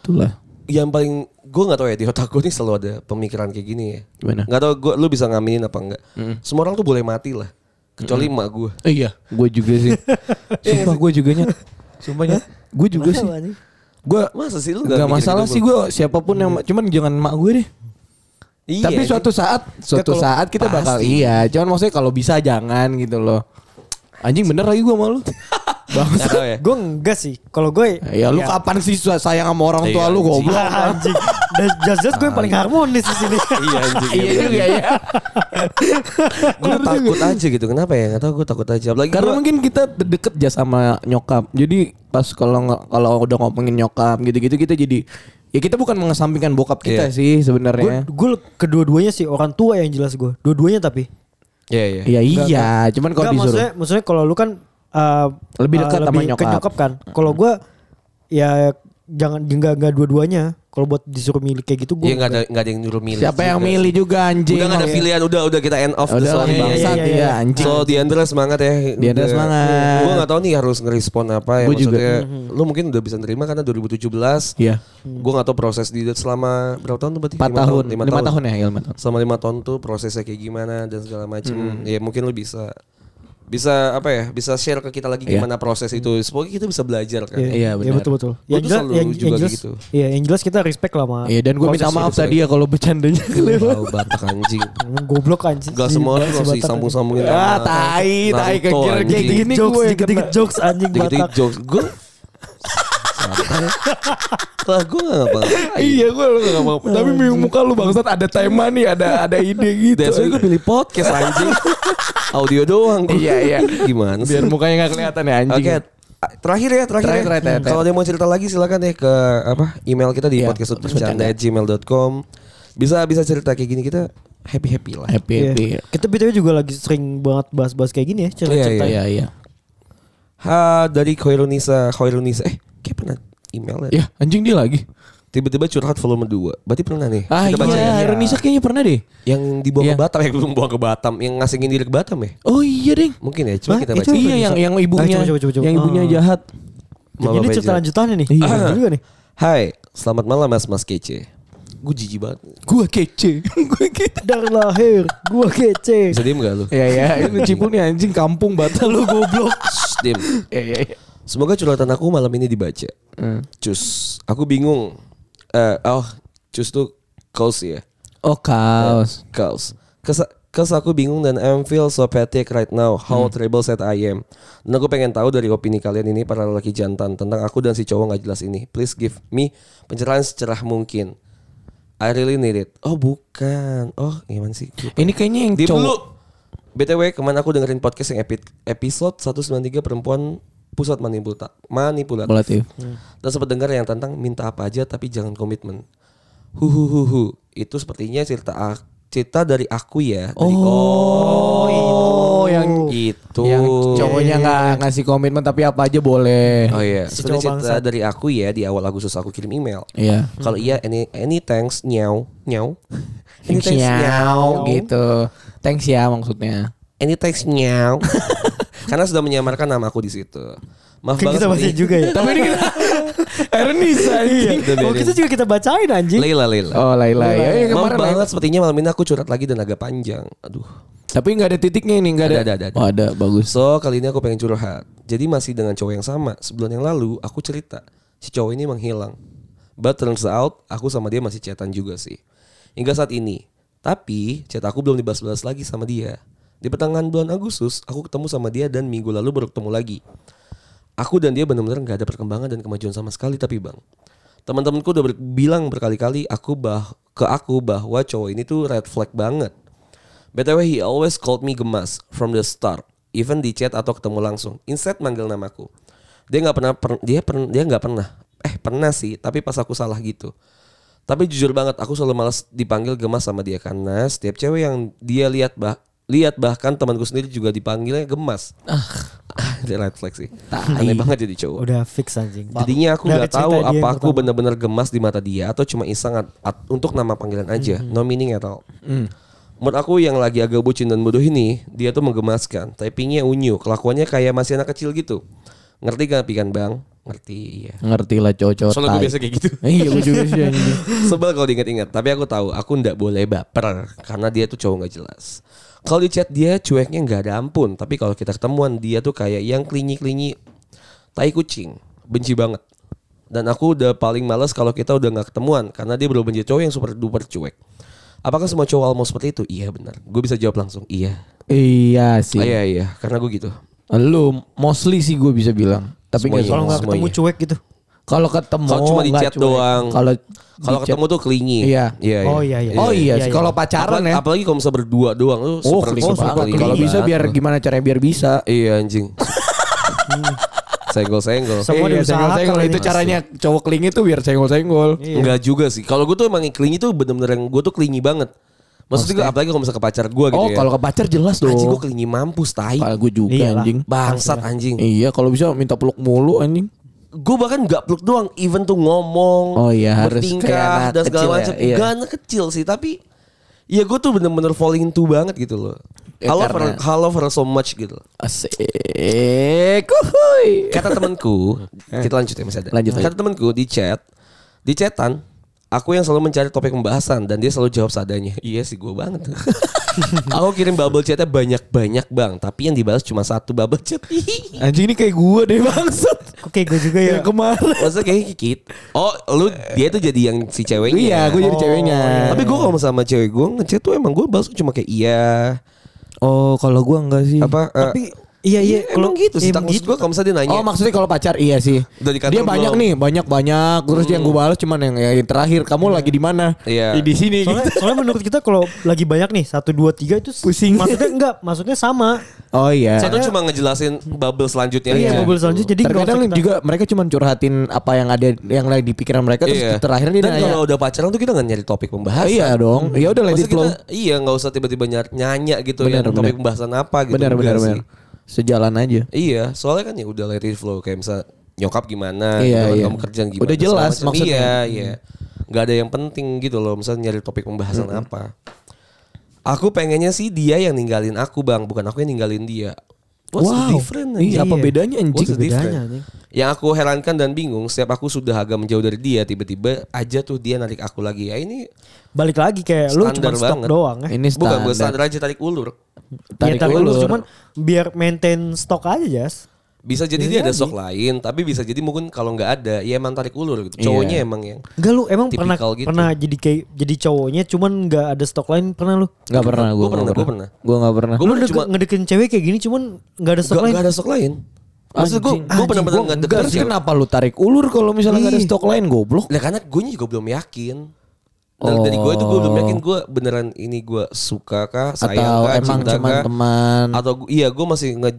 Speaker 3: Itulah.
Speaker 2: yang paling gue nggak tahu ya di otak gue nih selalu ada pemikiran kayak gini ya
Speaker 3: Gimana?
Speaker 2: nggak tahu gue lu bisa ngaminin apa enggak semua orang tuh boleh mati lah kecuali emak gue
Speaker 3: Eh, Iya, gue juga sih.
Speaker 2: Iya
Speaker 3: Sumpah gue juga nyet. Sumpah nyet. Gue juga sih.
Speaker 4: Kenapa, anjing?
Speaker 3: Gue
Speaker 2: masa sih lu nggak
Speaker 3: Gak
Speaker 2: mikir
Speaker 3: masalah
Speaker 2: gitu,
Speaker 3: sih
Speaker 2: Bro?
Speaker 3: gue siapapun yang cuman jangan mak gue deh.
Speaker 2: iya,
Speaker 3: Tapi
Speaker 2: anjing.
Speaker 3: suatu saat, suatu
Speaker 2: kalau-
Speaker 3: saat kita bakal
Speaker 2: pasti.
Speaker 3: iya. Cuman maksudnya kalau bisa jangan gitu loh. Anjing bener lagi gue malu.
Speaker 2: Nggak tahu ya
Speaker 4: Gue enggak sih Kalau gue
Speaker 3: ya lu kapan sih su- sayang sama orang tua
Speaker 2: Iya,
Speaker 3: lu
Speaker 2: anjing.
Speaker 3: goblok.
Speaker 4: Ah, anjing. Dan just just gue yang paling harmonis di sini.
Speaker 2: iya anjing
Speaker 3: Iya juga ya.
Speaker 2: gue takut aja gitu kenapa ya nggak tahu gue takut aja apalagi
Speaker 3: Karena
Speaker 2: gua-
Speaker 3: mungkin kita deket ya sama nyokap. Jadi pas kalau nge- kalau udah ngomongin nyokap gitu-gitu kita jadi ya kita bukan mengesampingkan bokap kita
Speaker 2: Iya.
Speaker 3: sih
Speaker 4: gue
Speaker 3: sebenarnya.
Speaker 4: gue kedua-duanya sih orang tua yang jelas gue. Dua-duanya tapi.
Speaker 2: iya iya
Speaker 3: Iya iya, cuman kalau
Speaker 4: Enggak,
Speaker 3: disuruh
Speaker 4: maksudnya maksudnya kalau lu kan eh,
Speaker 3: Lebih
Speaker 4: eh,
Speaker 3: dekat sama
Speaker 4: lebih ke
Speaker 3: nyokap.
Speaker 4: kan. Kalau gue ya jangan enggak enggak dua-duanya. Kalau buat disuruh milih kayak
Speaker 2: Iya
Speaker 4: gitu gue.
Speaker 2: nggak ada nggak ada yang nyuruh milih
Speaker 3: siapa yang
Speaker 2: juga.
Speaker 3: milih juga anjing.
Speaker 2: udah nggak ada
Speaker 3: Iya.
Speaker 2: pilihan udah udah kita end off the
Speaker 3: Udah lah
Speaker 2: story.
Speaker 4: bang.
Speaker 3: bangsat
Speaker 4: Iya, iya,
Speaker 3: ya
Speaker 4: iya.
Speaker 3: anjing.
Speaker 2: So Diandra semangat ya.
Speaker 3: Diandra
Speaker 2: Udah.
Speaker 3: semangat.
Speaker 2: Gua nggak tahu nih harus ngerespon apa ya
Speaker 3: Gua juga.
Speaker 2: maksudnya. Lu mungkin udah bisa nerima karena 2017.
Speaker 3: Iya.
Speaker 2: Gua nggak tahu proses di selama berapa tahun tuh berarti?
Speaker 3: 4
Speaker 2: Lima
Speaker 3: tahun, 5
Speaker 2: lima
Speaker 3: tahun. ya, ya, lima tahun.
Speaker 2: Selama lima tahun tuh prosesnya kayak gimana dan segala macem.
Speaker 3: Hmm.
Speaker 2: Ya mungkin lu bisa bisa apa ya bisa share ke kita lagi
Speaker 3: Iya.
Speaker 2: gimana proses itu semoga kita bisa belajar kan
Speaker 4: Iya,
Speaker 3: Iya, benar.
Speaker 4: betul betul.
Speaker 2: Gua
Speaker 4: Yang
Speaker 2: tuh
Speaker 4: jelas,
Speaker 2: selalu
Speaker 4: yang,
Speaker 2: juga
Speaker 4: yang jelas,
Speaker 2: gitu.
Speaker 4: iya, yang jelas kita respect lah sama.
Speaker 3: Iya, dan gue minta
Speaker 2: Proses
Speaker 3: maaf
Speaker 2: sudah
Speaker 3: tadi ya kalau bercandanya kelewat.
Speaker 2: Wow, batak anjing.
Speaker 4: Emang goblok anjing. Iya,
Speaker 3: Iya,
Speaker 2: Gak semua orang
Speaker 4: Si
Speaker 2: harus
Speaker 4: Batak
Speaker 2: disambung-sambungin
Speaker 3: Ah,
Speaker 2: sama
Speaker 3: tai, tai
Speaker 2: Naruto,
Speaker 3: kejer kayak
Speaker 2: anjing.
Speaker 4: anjing.
Speaker 3: gini
Speaker 4: jokes,
Speaker 3: gue. yang
Speaker 4: dikit-dikit
Speaker 3: kena.
Speaker 4: jokes anjing
Speaker 2: Dikit-dikit
Speaker 4: Batak.
Speaker 2: jokes gue lah gue gak apa
Speaker 3: Iya, gue gak apa-apa. Tapi mimik muka lu bangsat ada tema nih, ada ada ide gitu.
Speaker 2: That's why gue pilih podcast anjing Audio doang gua.
Speaker 3: Iya, iya.
Speaker 2: Gimana sih
Speaker 3: Biar mukanya gak kelihatan ya anjing.
Speaker 2: Oke Terakhir ya Terakhir,
Speaker 3: Terakhir,
Speaker 2: ya.
Speaker 3: terakhir, terakhir.
Speaker 2: Kalau dia mau cerita lagi silakan deh Ke apa email kita di
Speaker 3: Iya,
Speaker 2: podcast.bercanda@gmail.com. Bisa bisa cerita kayak gini kita happy happy lah.
Speaker 3: happy
Speaker 4: Iya.
Speaker 3: happy.
Speaker 4: Kita BTW juga lagi sering banget bahas-bahas kayak gini ya cerita-cerita.
Speaker 3: Iya iya.
Speaker 2: Ha, dari Khairunisa, Khairunisa, eh kayak pernah email ya?
Speaker 3: Ya anjing dia lagi.
Speaker 2: Tiba-tiba curhat volume 2 Berarti pernah nih?
Speaker 3: Ah
Speaker 2: Kita baca ya.
Speaker 3: iya, Ironisa kayaknya pernah deh.
Speaker 2: Yang dibawa
Speaker 3: Iya.
Speaker 2: ke Batam, yang belum bawa ke Batam, yang ngasingin diri ke Batam ya?
Speaker 3: Oh iya deh.
Speaker 2: Mungkin ya, coba
Speaker 4: Hah?
Speaker 2: kita
Speaker 4: Eh,
Speaker 2: baca.
Speaker 4: coba.
Speaker 3: Iya yang yang ibunya,
Speaker 4: Ayo, coba, coba, coba, coba.
Speaker 3: yang ibunya
Speaker 4: Ah.
Speaker 3: jahat.
Speaker 2: Mama
Speaker 4: Jadi ini
Speaker 2: Baja.
Speaker 4: cerita lanjutannya nih.
Speaker 3: Iya.
Speaker 4: Bener juga nih.
Speaker 2: Hai, selamat malam Mas Mas Kece. Gue jijik banget.
Speaker 3: Gua kece, gua kece.
Speaker 4: Dari lahir gua kece.
Speaker 2: Bisa diem gak lu?
Speaker 3: Ya ya, ini cipul nih anjing kampung batal lu goblok.
Speaker 2: Shh, diem.
Speaker 3: Ya ya. ya.
Speaker 2: Semoga curhatan aku malam ini dibaca.
Speaker 3: Hmm.
Speaker 2: Cus, aku bingung. Eh, oh, cus tuh kaos ya.
Speaker 3: Oh kaos.
Speaker 2: Kaos. Cause, cause aku bingung dan I'm feel so pathetic right now. How terrible sad I am. Dan aku pengen tahu dari opini kalian ini para lelaki jantan tentang aku dan si cowok nggak jelas ini. Please give me pencerahan secerah mungkin. I really need it. Oh bukan. Oh gimana sih?
Speaker 3: Ini kayaknya yang
Speaker 2: Di dulu.
Speaker 3: cowok.
Speaker 2: BTW kemana aku dengerin podcast yang epi- episode 193 perempuan pusat manipulata manipulatif.
Speaker 3: Relatif.
Speaker 2: Dan sempat dengar yang tentang minta apa aja tapi jangan komitmen. Huhuhuhu. Itu sepertinya cerita ak- cerita dari aku ya. Dari, oh,
Speaker 3: Oh, yang
Speaker 2: itu.
Speaker 3: yang cowoknya nggak ngasih komitmen tapi apa aja boleh.
Speaker 2: Oh iya,
Speaker 4: Si
Speaker 2: sebenarnya
Speaker 4: cowok
Speaker 2: cerita dari aku ya di awal Agustus aku kirim email.
Speaker 3: Iya.
Speaker 2: Kalau iya any, any thanks nyaw nyaw. Any thanks
Speaker 3: Xiao
Speaker 2: nyaw
Speaker 3: gitu. Thanks ya maksudnya.
Speaker 2: Any thanks nyaw. Karena sudah menyamarkan nama aku di situ. Maaf
Speaker 4: Kan
Speaker 2: banget
Speaker 4: kita baca
Speaker 2: nih.
Speaker 4: juga ya.
Speaker 3: Tapi ini kita Ernisa
Speaker 2: Iya,
Speaker 3: anjing.
Speaker 2: Udah
Speaker 4: Oh
Speaker 2: biarin.
Speaker 4: kita juga kita bacain anjing.
Speaker 2: Leila Leila.
Speaker 3: Oh Laila ya,
Speaker 2: Maaf
Speaker 3: ya kemarin Laila.
Speaker 2: banget sepertinya malam ini aku curhat lagi dan agak panjang. Aduh.
Speaker 3: Tapi nggak ada titiknya ini nggak ada.
Speaker 2: Ada, ada, ada.
Speaker 3: Oh ada bagus.
Speaker 2: So kali ini aku pengen curhat. Jadi masih dengan cowok yang sama. Sebulan yang lalu aku cerita si cowok ini menghilang. But turns out aku sama dia masih chatan juga sih. Hingga saat ini. Tapi chat aku belum dibalas-balas lagi sama dia. Di pertengahan bulan Agustus aku ketemu sama dia dan minggu lalu baru ketemu lagi. Aku dan dia benar-benar nggak ada perkembangan dan kemajuan sama sekali tapi bang. Teman-temanku udah ber- bilang berkali-kali aku bah ke aku bahwa cowok ini tuh red flag banget. BTW he always called me gemas from the start, even di chat atau ketemu langsung. Instead manggil namaku. Dia nggak pernah per- dia per- dia nggak pernah eh pernah sih, tapi pas aku salah gitu. Tapi jujur banget aku selalu malas dipanggil gemas sama dia karena setiap cewek yang dia lihat bah lihat bahkan temanku sendiri juga dipanggilnya gemas. Ah, dia red flag sih. Aneh banget jadi cowok.
Speaker 4: Udah fix anjing.
Speaker 2: Jadinya aku
Speaker 4: Dari
Speaker 2: nggak
Speaker 4: cerita
Speaker 2: tahu
Speaker 4: dia yang
Speaker 2: apa aku
Speaker 4: pertama.
Speaker 2: benar-benar gemas di mata dia atau cuma iseng at- at- untuk nama panggilan aja, no meaning at all. Menurut aku yang lagi agak bucin dan bodoh ini, dia tuh menggemaskan. Typingnya unyu, kelakuannya kayak masih anak kecil gitu. Ngerti gak pikan bang? Ngerti, iya.
Speaker 3: Ngerti lah cowok-cowok.
Speaker 2: Soalnya gue
Speaker 3: tai.
Speaker 2: biasa kayak gitu.
Speaker 3: Iya gue juga sih anjing.
Speaker 2: Sebel kalau diingat-ingat, tapi aku tahu aku ndak boleh baper karena dia tuh cowok nggak jelas. Kalau di chat dia cueknya nggak ada ampun, tapi kalau kita ketemuan dia tuh kayak yang klinyi-klinyi tai kucing, benci banget. Dan aku udah paling males kalau kita udah nggak ketemuan karena dia belum menjadi cowok yang super duper cuek. Apakah semua cowok almost seperti itu? Iya benar. Gue bisa jawab langsung. Iya.
Speaker 3: Iya sih.
Speaker 2: Ah, iya iya, karena gue gitu.
Speaker 3: Lu mostly sih gue bisa bilang. Tapi nggak
Speaker 2: Semuanya.
Speaker 4: Kalau nggak ketemu
Speaker 2: Semuanya.
Speaker 4: cuek gitu.
Speaker 3: Kalau ketemu
Speaker 2: Kalau cuma di
Speaker 3: nggak
Speaker 2: chat
Speaker 3: cuek.
Speaker 2: doang.
Speaker 3: Kalau
Speaker 2: Kalau
Speaker 3: di chat-
Speaker 2: ketemu tuh klinyi.
Speaker 3: Iya.
Speaker 2: Iya.
Speaker 4: Oh iya iya.
Speaker 3: Oh iya, sih. kalau
Speaker 2: Apalagi,
Speaker 3: pacaran ya.
Speaker 2: apalagi kalau misalnya berdua doang lu
Speaker 3: Oh,
Speaker 2: super,
Speaker 3: klik
Speaker 2: super Iya.
Speaker 3: banget.
Speaker 2: clingy
Speaker 3: Kalau bisa
Speaker 2: banget.
Speaker 3: biar gimana caranya biar bisa.
Speaker 2: Iya anjing. Hmm. Senggol-senggol.
Speaker 4: Semua
Speaker 3: Iya,
Speaker 4: diusahakan
Speaker 3: senggol-senggol.
Speaker 4: ini.
Speaker 3: itu caranya cowok klingi tuh biar senggol-senggol.
Speaker 2: Enggak juga sih. Kalau gue tuh emang klingi tuh bener-bener yang gue tuh klingi banget. Maksudnya gue apalagi kalau misalnya ke pacar gue gitu
Speaker 3: Oh,
Speaker 2: ya.
Speaker 3: kalau ke pacar jelas dong.
Speaker 2: anjing gue klingi mampus tai.
Speaker 3: Kalau gue juga
Speaker 4: Iyalah.
Speaker 3: anjing.
Speaker 2: Bangsat anjing.
Speaker 3: Iya, kalau bisa minta peluk mulu anjing.
Speaker 2: Gue bahkan gak peluk doang, even tuh ngomong,
Speaker 3: Oh iya, harus kayak
Speaker 2: bertingkah
Speaker 3: anak
Speaker 2: dan segala
Speaker 3: kecil ya,
Speaker 2: macam.
Speaker 3: iya.
Speaker 2: Gak anak kecil sih, tapi ya gue tuh bener-bener falling into banget gitu loh.
Speaker 3: Ya,
Speaker 2: halo,
Speaker 3: karena-
Speaker 2: for, halo for so much gitu. loh.
Speaker 3: Asik. Uhuy.
Speaker 2: Kata temanku, kita lanjut ya masih ada.
Speaker 3: Lanjut,
Speaker 2: Kata temanku di chat, di chatan, aku yang selalu mencari topik pembahasan dan dia selalu jawab seadanya. Iya sih gue banget. aku kirim bubble chatnya banyak-banyak bang, tapi yang dibalas cuma satu bubble chat.
Speaker 3: Anjing ini kayak gue deh bangsat.
Speaker 4: Kok kayak gue
Speaker 2: Iya,
Speaker 4: juga ya.
Speaker 3: Yang kemarin.
Speaker 2: Maksudnya kayaknya kikit. Oh lu dia tuh jadi yang si ceweknya.
Speaker 3: Iya, gue jadi
Speaker 4: Oh,
Speaker 3: ceweknya.
Speaker 4: iya.
Speaker 2: Tapi gue kalau sama cewek gue ngechat tuh emang gue balas cuma kayak iya.
Speaker 3: Oh, kalau gue enggak sih.
Speaker 2: Apa? eh,
Speaker 4: Tapi iya iya.
Speaker 2: emang gitu sih.
Speaker 4: iya,
Speaker 2: Tak, maksud
Speaker 4: gitu.
Speaker 2: gue kalau misalnya dia nanya.
Speaker 3: Oh maksudnya kalau pacar iya sih.
Speaker 2: Udah di kantor
Speaker 3: Dia
Speaker 2: belum?
Speaker 3: banyak
Speaker 2: Hmm.
Speaker 3: nih, banyak banyak. Terus yang gue balas cuman yang, yang terakhir kamu lagi di mana?
Speaker 2: Iya.
Speaker 3: Di sini.
Speaker 4: Soalnya,
Speaker 3: gitu.
Speaker 4: soalnya menurut kita kalau lagi banyak nih satu dua tiga itu
Speaker 3: Pusing.
Speaker 4: Maksudnya enggak, maksudnya sama.
Speaker 3: Oh iya.
Speaker 2: Saya tuh cuma ngejelasin bubble selanjutnya
Speaker 4: Iya,
Speaker 2: aja.
Speaker 4: bubble selanjutnya. Jadi nggak usah
Speaker 3: Terkadang
Speaker 4: kita-
Speaker 3: juga mereka cuma curhatin apa yang ada yang lagi di pikiran mereka Kan terus
Speaker 2: Iya.
Speaker 3: terakhir dia
Speaker 2: Dan
Speaker 3: nanya.
Speaker 2: kalau udah pacaran tuh kita nggak nyari topik
Speaker 3: "Ah,
Speaker 2: pembahasan.
Speaker 3: iya dong. Ya udah let
Speaker 2: Maksudnya
Speaker 3: it flow.
Speaker 2: kita- iya nggak usah tiba-tiba nyar- nyanya gitu
Speaker 3: Benar,
Speaker 2: yang topik
Speaker 3: benar.
Speaker 2: pembahasan apa gitu.
Speaker 3: Benar
Speaker 2: Enggak
Speaker 3: benar
Speaker 2: sih.
Speaker 3: benar. Sejalan aja.
Speaker 2: Iya, soalnya kan ya udah let it flow kayak misal nyokap gimana,
Speaker 3: Iya,
Speaker 2: gitu kan,
Speaker 3: iya.
Speaker 2: kamu kerjaan gimana.
Speaker 3: Udah
Speaker 2: segala
Speaker 3: jelas
Speaker 2: macam.
Speaker 3: maksudnya. Hmm.
Speaker 2: Iya, iya. Gak ada yang penting gitu loh, misalnya nyari topik pembahasan
Speaker 3: Hmm.
Speaker 2: apa. Aku pengennya sih dia yang ninggalin aku bang, bukan aku yang ninggalin dia. What's the difference? anjing?
Speaker 3: Iya, apa bedanya anjing?
Speaker 2: What's the difference?
Speaker 4: bedanya, anjing?
Speaker 2: Yang aku herankan dan bingung, setiap aku sudah agak menjauh dari dia, tiba-tiba aja tuh dia narik aku lagi. Ya ini
Speaker 4: Balik lagi
Speaker 3: Ya,
Speaker 4: kayak lu cuma
Speaker 2: Standar
Speaker 4: stok
Speaker 2: banget.
Speaker 4: doang ya.
Speaker 3: Ini
Speaker 2: bukan gue
Speaker 3: eh. standar.
Speaker 2: standar aja tarik ulur.
Speaker 4: Tarik
Speaker 3: Tarik
Speaker 4: ya, tarik ulur.
Speaker 3: ulur.
Speaker 4: cuman biar maintain stok aja, Jas.
Speaker 2: Bisa jadi dia ada sok lain, tapi bisa jadi mungkin kalau nggak ada, ya emang tarik ulur
Speaker 3: Iya.
Speaker 2: gitu. Cowoknya emang yang
Speaker 4: Enggak lu emang pernah
Speaker 2: Tipikal gitu.
Speaker 4: pernah jadi kayak jadi cowoknya cuman nggak ada stok lain pernah lu?
Speaker 3: Enggak pernah
Speaker 2: Gua
Speaker 3: gua.
Speaker 2: pernah,
Speaker 3: nggak
Speaker 2: gua pernah.
Speaker 3: Gua enggak pernah.
Speaker 2: Gua
Speaker 4: lu
Speaker 2: pernah
Speaker 4: deke-
Speaker 2: cuma-
Speaker 4: ngedeketin cewek kayak gini cuman nggak ada stok
Speaker 2: Gak,
Speaker 4: lain.
Speaker 2: ada stok lain. Maksud gue, gue bener-bener gak deket
Speaker 3: Terus
Speaker 2: sih.
Speaker 3: kenapa lu tarik ulur kalau misalnya nggak ada
Speaker 2: Ih.
Speaker 3: stok lain goblok?
Speaker 2: Nah, karena gue juga belum yakin. Dari, dari gue itu gue belum yakin gue beneran ini gue suka kah, sayang
Speaker 3: Oh. Atau
Speaker 2: kah,
Speaker 3: emang
Speaker 2: cinta
Speaker 3: cuman
Speaker 2: kah.
Speaker 3: teman?
Speaker 2: Atau gu- iya gue masih nge...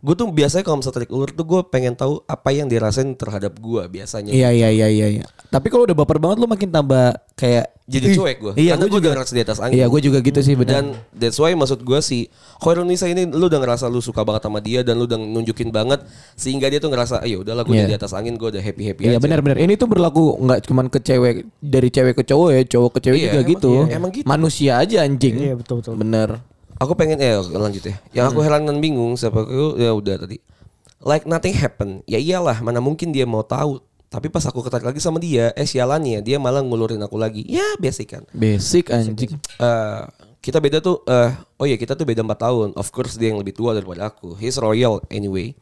Speaker 2: Gue tuh biasanya kalau misalnya tarik ulur tuh gue pengen tahu apa yang dirasain terhadap gue biasanya.
Speaker 3: Iya iya iya iya. iya. Tapi kalau udah baper banget lu makin tambah kayak
Speaker 2: Jadi
Speaker 3: Ih,
Speaker 2: cuek gue.
Speaker 3: Iya,
Speaker 2: karena
Speaker 3: gua
Speaker 2: gue
Speaker 3: juga.
Speaker 2: udah ngerasa di atas angin.
Speaker 3: Iya, gue juga gitu sih benar.
Speaker 2: Dan that's why maksud gue si Khoirunisa ini lu udah ngerasa lu suka banget sama dia dan lu udah nunjukin banget sehingga dia tuh ngerasa ayo udahlah gue
Speaker 3: Iya.
Speaker 2: udah di atas angin gue udah happy happy aja.
Speaker 3: Iya benar-benar. Ini tuh berlaku nggak cuman ke cewek dari cewek ke cowok ya, cowok ke cewek
Speaker 2: Iya,
Speaker 3: juga
Speaker 2: emang-
Speaker 3: gitu.
Speaker 2: iya, emang gitu.
Speaker 3: Manusia aja anjing.
Speaker 4: Iya, betul, betul.
Speaker 3: Bener.
Speaker 2: Aku pengen eh lanjut ya. Yang
Speaker 3: Hmm.
Speaker 2: aku heran dan bingung siapa aku ya udah tadi. Like nothing happen. Ya iyalah mana mungkin dia mau tahu. Tapi pas aku ketarik lagi sama dia, eh sialannya dia malah ngulurin aku lagi. Ya basic kan.
Speaker 3: Basic anjing.
Speaker 2: Eh, kita beda tuh eh oh ya kita tuh beda 4 tahun of course dia yang lebih tua daripada aku he's royal anyway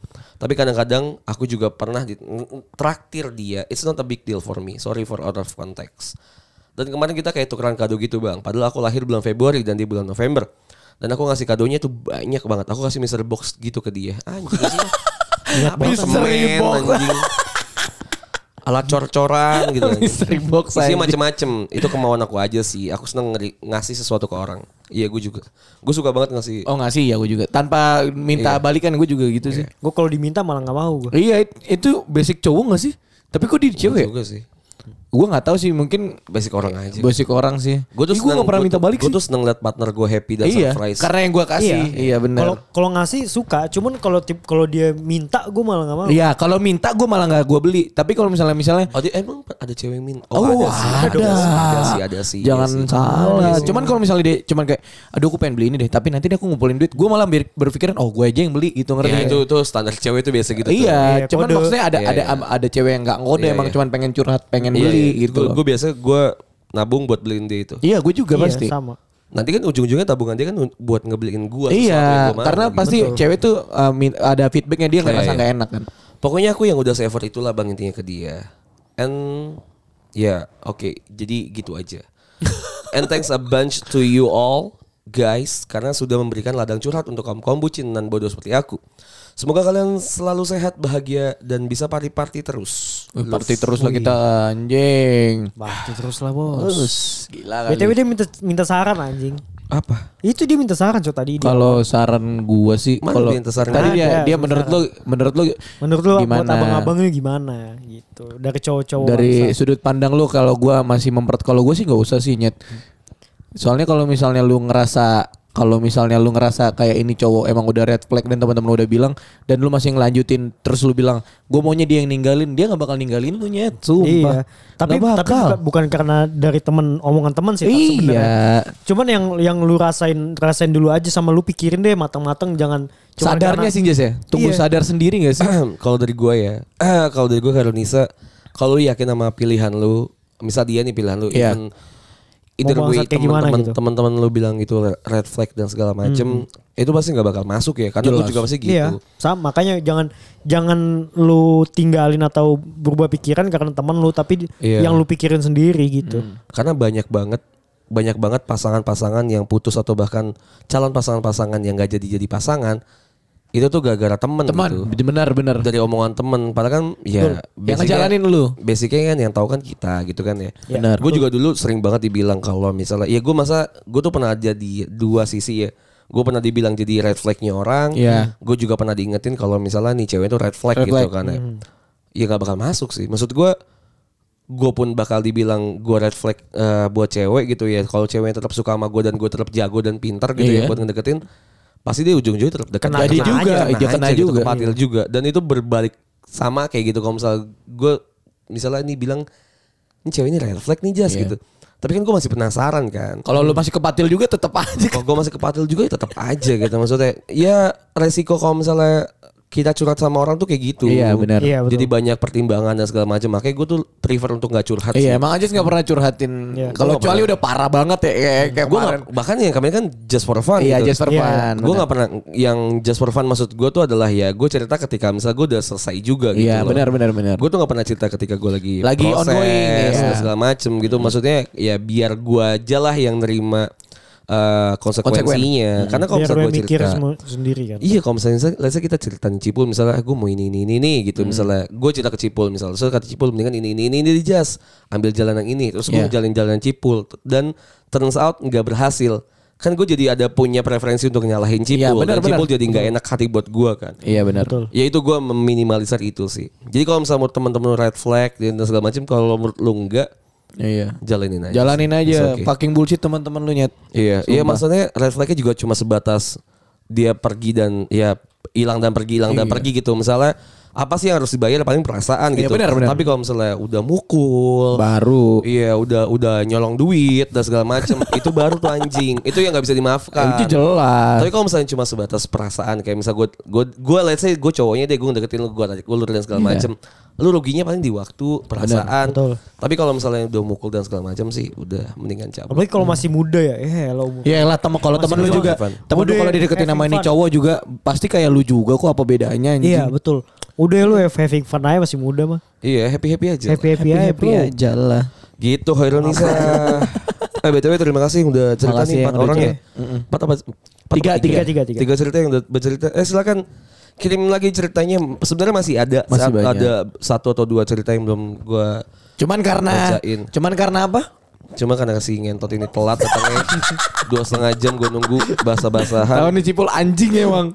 Speaker 2: tapi kadang-kadang aku juga pernah di, ng- ng- traktir dia it's not a big deal for me sorry for out of context dan kemarin kita kayak tukeran kado gitu bang padahal aku lahir bulan Februari dan dia bulan November dan aku ngasih kadonya tuh banyak banget aku kasih Mister Box gitu ke dia anjing banyak
Speaker 3: banget. Mystery box.
Speaker 2: anjing alat cor-coran gitu.
Speaker 3: Mystery box
Speaker 2: Isinya
Speaker 3: aja.
Speaker 2: macem-macem. Itu kemauan aku aja sih. Aku seneng ngeri- ngasih sesuatu ke orang. Iya gue juga. Gue suka banget ngasih.
Speaker 3: Oh nggak sih ya gue juga. Tanpa
Speaker 2: Iya.
Speaker 3: minta balikan gue juga gitu sih.
Speaker 4: Gue kalau diminta malah nggak mau gue.
Speaker 3: Iya it- itu basic cowok nggak sih? Tapi kok di cewek?
Speaker 2: Iya, Juga sih.
Speaker 3: Gue nggak tahu sih mungkin
Speaker 2: Basic orang aja.
Speaker 3: basic orang sih.
Speaker 2: Gue tuh
Speaker 3: Ih, gua nggak pernah minta balik
Speaker 2: Gue
Speaker 3: sih.
Speaker 2: tuh seneng liat partner gue happy dan
Speaker 3: iya.
Speaker 2: surprise.
Speaker 3: Karena yang gue kasih. Iya, bener.
Speaker 4: Kalau kalau ngasih suka, cuman kalau tip kalau dia minta gue malah nggak mau.
Speaker 3: Iya kalau minta gue malah nggak gue beli. Tapi kalau misalnya misalnya
Speaker 2: Oh, dia- emang ada cewek yang min?
Speaker 3: Oh, ada.
Speaker 2: Ada sih, ada sih, ada sih. Iya
Speaker 3: Jangan
Speaker 2: sih.
Speaker 3: salah.
Speaker 2: Iya sih.
Speaker 3: Cuman kalau misalnya dia cuman kayak aduh aku pengen beli ini deh, tapi nanti dia aku ngumpulin duit, gue malah ber- berpikiran oh gue aja yang beli gitu ngerti.
Speaker 2: Ya,
Speaker 3: nggak?
Speaker 2: itu tuh standar cewek tuh biasa gitu.
Speaker 3: iya,
Speaker 4: Iya,
Speaker 3: cuman
Speaker 4: kode.
Speaker 3: maksudnya ada
Speaker 2: Iya,
Speaker 3: ada
Speaker 2: iya.
Speaker 3: ada cewek yang nggak ngode
Speaker 2: Iya,
Speaker 3: emang
Speaker 2: iya.
Speaker 3: cuman pengen curhat, pengen
Speaker 2: Iya,
Speaker 3: beli
Speaker 2: iya.
Speaker 3: gitu. loh.
Speaker 2: Gue biasa gue nabung buat beliin dia itu.
Speaker 3: iya, gue juga
Speaker 4: Iya,
Speaker 3: pasti.
Speaker 4: sama.
Speaker 2: Nanti kan ujung-ujungnya tabungan dia kan buat ngebeliin gue.
Speaker 3: Iya, karena
Speaker 2: gitu.
Speaker 3: pasti cewek tuh uh, min- ada feedbacknya dia ngerasa
Speaker 2: iya.
Speaker 3: nggak enak kan.
Speaker 2: Pokoknya aku yang udah se effort itulah bang intinya ke dia. And ya oke jadi gitu aja. And thanks a bunch to you all guys karena sudah memberikan ladang curhat untuk kaum kaum bucin dan bodoh seperti aku. Semoga kalian selalu sehat, bahagia dan bisa party-party terus.
Speaker 3: Party terus lah kita anjing.
Speaker 4: Bakti terus lah bos.
Speaker 3: Terus gila
Speaker 2: kan.
Speaker 3: kali.
Speaker 4: BTW dia minta minta saran anjing.
Speaker 2: Apa?
Speaker 4: Itu dia minta saran coy tadi. Dia.
Speaker 3: Kalau saran gua sih
Speaker 2: Iya. Mana
Speaker 3: kalau
Speaker 2: dia yang saran?
Speaker 3: tadi dia
Speaker 4: Ada,
Speaker 3: dia
Speaker 4: ada
Speaker 3: menurut lo menurut lo
Speaker 4: Menurut lu buat
Speaker 3: gimana?
Speaker 4: abang-abangnya gimana gitu dari cowok-cowok
Speaker 3: dari
Speaker 4: bangsa.
Speaker 3: sudut pandang lu kalau gua masih memper kalau gua sih nggak usah sih nyet.
Speaker 2: Hmm.
Speaker 3: Soalnya kalau misalnya lu ngerasa kalau misalnya lu ngerasa kayak ini cowok emang udah red flag dan teman-teman udah bilang dan lu masih ngelanjutin terus lu bilang gue maunya dia yang ninggalin dia nggak bakal ninggalin lu nyet
Speaker 4: Iya.
Speaker 3: sumpah
Speaker 4: Tapi
Speaker 3: Nggak
Speaker 4: tapi
Speaker 3: bakal.
Speaker 4: bukan, bukan karena dari temen omongan teman sih Tat, sebenarnya.
Speaker 3: iya
Speaker 4: Cuman yang yang lu rasain rasain dulu aja sama lu pikirin deh matang-matang jangan cuman
Speaker 3: sadarnya
Speaker 4: karena-
Speaker 3: sih Jas ya tunggu
Speaker 4: Iya.
Speaker 3: sadar sendiri gak sih
Speaker 2: kalau dari gua ya, kalau dari gua Karunisa, kalau lu yakin sama pilihan lu, misal dia nih pilihan lu,
Speaker 3: Iya.
Speaker 2: even either
Speaker 4: Mau
Speaker 2: way
Speaker 4: bangsat kayak gimana
Speaker 2: teman-teman
Speaker 4: gitu.
Speaker 2: teman-teman lu bilang itu red flag dan segala macem, itu pasti nggak bakal masuk ya, karena lu juga pasti gitu.
Speaker 4: Hmm. Iya, sama makanya jangan jangan lu tinggalin atau berubah pikiran karena teman lu tapi di-
Speaker 2: Iya. Hmm.
Speaker 4: yang lu pikirin sendiri gitu.
Speaker 2: Karena banyak banget banyak banget pasangan-pasangan yang putus atau bahkan calon pasangan-pasangan yang gak jadi jadi pasangan itu tuh gara-gara temen,
Speaker 3: teman
Speaker 2: gitu.
Speaker 3: benar-benar
Speaker 2: dari omongan temen padahal kan ya
Speaker 3: yang
Speaker 2: basicnya-
Speaker 3: ngejalanin lu
Speaker 2: basicnya kan yang tahu kan kita gitu kan ya.
Speaker 3: Ya. Benar.
Speaker 2: Gue juga dulu sering banget dibilang kalau misalnya ya gue masa gue tuh pernah ada di dua sisi ya. gue pernah dibilang jadi red flagnya orang
Speaker 3: Iya.
Speaker 2: gue juga pernah diingetin kalau misalnya nih cewek itu red flag
Speaker 3: Red
Speaker 2: gitu
Speaker 3: flag. Hmm.
Speaker 2: kan ya ya nggak bakal masuk sih maksud gue gue pun bakal dibilang gue red flag eh, buat cewek gitu ya kalau ceweknya tetap suka sama gue dan gue tetap jago dan pintar gitu ya
Speaker 3: Iya.
Speaker 2: buat ngedeketin pasti dia ujung-ujungnya tetap dekat
Speaker 4: Kena-
Speaker 2: Jadi
Speaker 4: kena aja,
Speaker 2: kena,
Speaker 3: dia kena kan.
Speaker 2: aja gitu,
Speaker 3: juga.
Speaker 2: kepatil juga dan itu berbalik sama kayak gitu kalau misalnya gue misalnya ini bilang ini cewek ini red flag nih jas gitu tapi kan gue masih penasaran kan
Speaker 3: Iya. Kalau lu masih kepatil juga tetap aja.
Speaker 2: kalau gue masih kepatil juga ya tetap aja gitu maksudnya ya resiko kalau misalnya kita curhat sama orang tuh kayak gitu
Speaker 3: Iya, benar.
Speaker 4: Iya, betul.
Speaker 2: jadi banyak pertimbangan dan segala macam makanya gue tuh prefer untuk nggak curhat sih.
Speaker 3: Iya, emang Ajis nggak pernah curhatin.
Speaker 4: Iya.
Speaker 3: Kalau kecuali udah parah banget ya kayak kayak
Speaker 2: gue
Speaker 3: kemarin.
Speaker 2: bahkan yang kemarin kan just for fun
Speaker 3: Iya,
Speaker 2: gitu.
Speaker 3: Ajis for
Speaker 4: Iya.
Speaker 3: fun.
Speaker 2: gue nggak pernah yang just for fun maksud gue tuh adalah ya gue cerita ketika misalnya gue udah selesai juga gitu
Speaker 3: Iya,
Speaker 2: loh.
Speaker 3: benar benar benar.
Speaker 2: Gue tuh gak pernah cerita ketika gue lagi
Speaker 3: Lagi
Speaker 2: proses,
Speaker 3: ongoing, iya.
Speaker 2: dan segala macem gitu. Maksudnya ya biar gue aja lah yang nerima eh, konsekuensinya. Karena kalau
Speaker 4: Biar
Speaker 2: misalnya
Speaker 4: gue
Speaker 2: gue
Speaker 4: mikir
Speaker 2: cerita,
Speaker 4: semua sendiri kan.
Speaker 2: Iya kalau misalnya, misalnya let's say kita cerita nih, Cipul misalnya gue mau ini ini ini ini gitu
Speaker 3: Hmm.
Speaker 2: misalnya gue cerita ke Cipul misalnya so kata Cipul mendingan ini ini ini ini di jas ambil jalan yang ini terus gue
Speaker 3: Iya.
Speaker 2: jalan-jalan Cipul dan turns out nggak berhasil kan gue jadi ada punya preferensi untuk nyalahin
Speaker 3: Iya,
Speaker 2: Cipul
Speaker 3: benar,
Speaker 2: dan Cipul
Speaker 3: benar.
Speaker 2: jadi nggak enak hati buat gue kan
Speaker 3: Iya benar.
Speaker 4: Betul.
Speaker 2: ya itu gue meminimalisir itu sih jadi kalau misalnya menurut teman-teman red flag dan segala macam kalau menurut lu enggak
Speaker 3: Iya.
Speaker 2: jalanin aja
Speaker 3: Jalanin aja
Speaker 2: It's okay.
Speaker 3: fucking bullshit teman-teman lu nyet.
Speaker 2: Iya, iya maksudnya red flagnya juga cuma sebatas dia pergi dan ya hilang dan pergi hilang dan pergi gitu misalnya apa sih yang harus dibayar paling perasaan
Speaker 3: Iya,
Speaker 2: gitu.
Speaker 3: benar, benar.
Speaker 2: Tapi kalau misalnya udah mukul,
Speaker 3: Baru.
Speaker 2: iya udah udah nyolong duit dan segala macem itu baru tuh anjing. Itu yang nggak bisa dimaafkan.
Speaker 3: Itu jelas.
Speaker 2: Tapi kalau misalnya cuma sebatas perasaan kayak misal gue gue gue let's say gue cowoknya deh gue deketin lu gue tarik ulur dan segala macem lu ruginya paling di waktu perasaan
Speaker 4: betul.
Speaker 2: tapi kalau misalnya udah mukul dan segala macam sih udah mendingan cabut
Speaker 4: Apalagi kalau masih muda ya. Eh, lo umur.
Speaker 3: Ya lah temen kalau temen lu
Speaker 2: Masih
Speaker 3: juga
Speaker 2: fun.
Speaker 3: temen lu
Speaker 4: Udah,
Speaker 3: kalau dideketin
Speaker 4: having
Speaker 3: sama ini
Speaker 4: fun.
Speaker 3: cowok juga pasti kayak lu juga kok apa bedanya anjing.
Speaker 4: Iya betul. Udah lu eh, having fun aja masih muda mah.
Speaker 2: iya happy happy aja lah.
Speaker 4: Happy happy aja
Speaker 3: Happy-happy
Speaker 4: bro.
Speaker 3: aja lah.
Speaker 2: Gitu Hoironisa. eh BTW terima kasih yang udah cerita nih
Speaker 3: Makasih yang
Speaker 2: empat
Speaker 3: udah
Speaker 2: orang ya.
Speaker 3: cerita.
Speaker 2: Empat apa? Empat
Speaker 3: Tiga,
Speaker 2: apa?
Speaker 4: tiga, tiga, tiga.
Speaker 2: Tiga cerita yang udah bercerita. Eh silakan kirim lagi ceritanya. Sebenarnya masih ada
Speaker 3: Masih
Speaker 2: Saat-
Speaker 3: banyak.
Speaker 2: ada satu atau dua cerita yang belum gua
Speaker 3: Cuman karena
Speaker 2: Bacain.
Speaker 3: cuman karena apa?
Speaker 2: cuma karena kasih ngentot ini telat datangnya dua setengah jam gua nunggu
Speaker 3: Tahun
Speaker 2: bahasa-basahan.
Speaker 3: ini cipul anjing emang.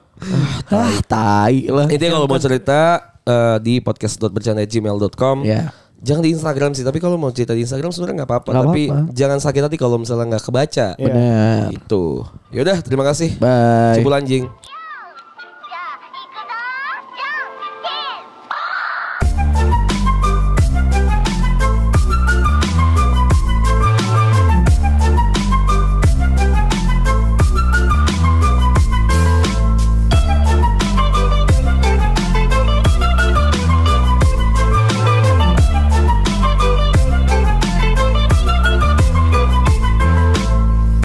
Speaker 3: ah, tai lah.
Speaker 2: Intinya kalau mau cerita eh, di podcast.bercanda@gmail.com
Speaker 3: Iya.
Speaker 2: Jangan di Instagram sih, tapi kalau mau cerita di Instagram sebenarnya nggak apa-apa.
Speaker 3: Nggak
Speaker 2: Tapi
Speaker 3: apa-apa.
Speaker 2: jangan sakit hati kalau misalnya nggak kebaca.
Speaker 3: Benar.
Speaker 2: Gitu. Yaudah, terima kasih.
Speaker 3: Bye.
Speaker 2: Cipul anjing.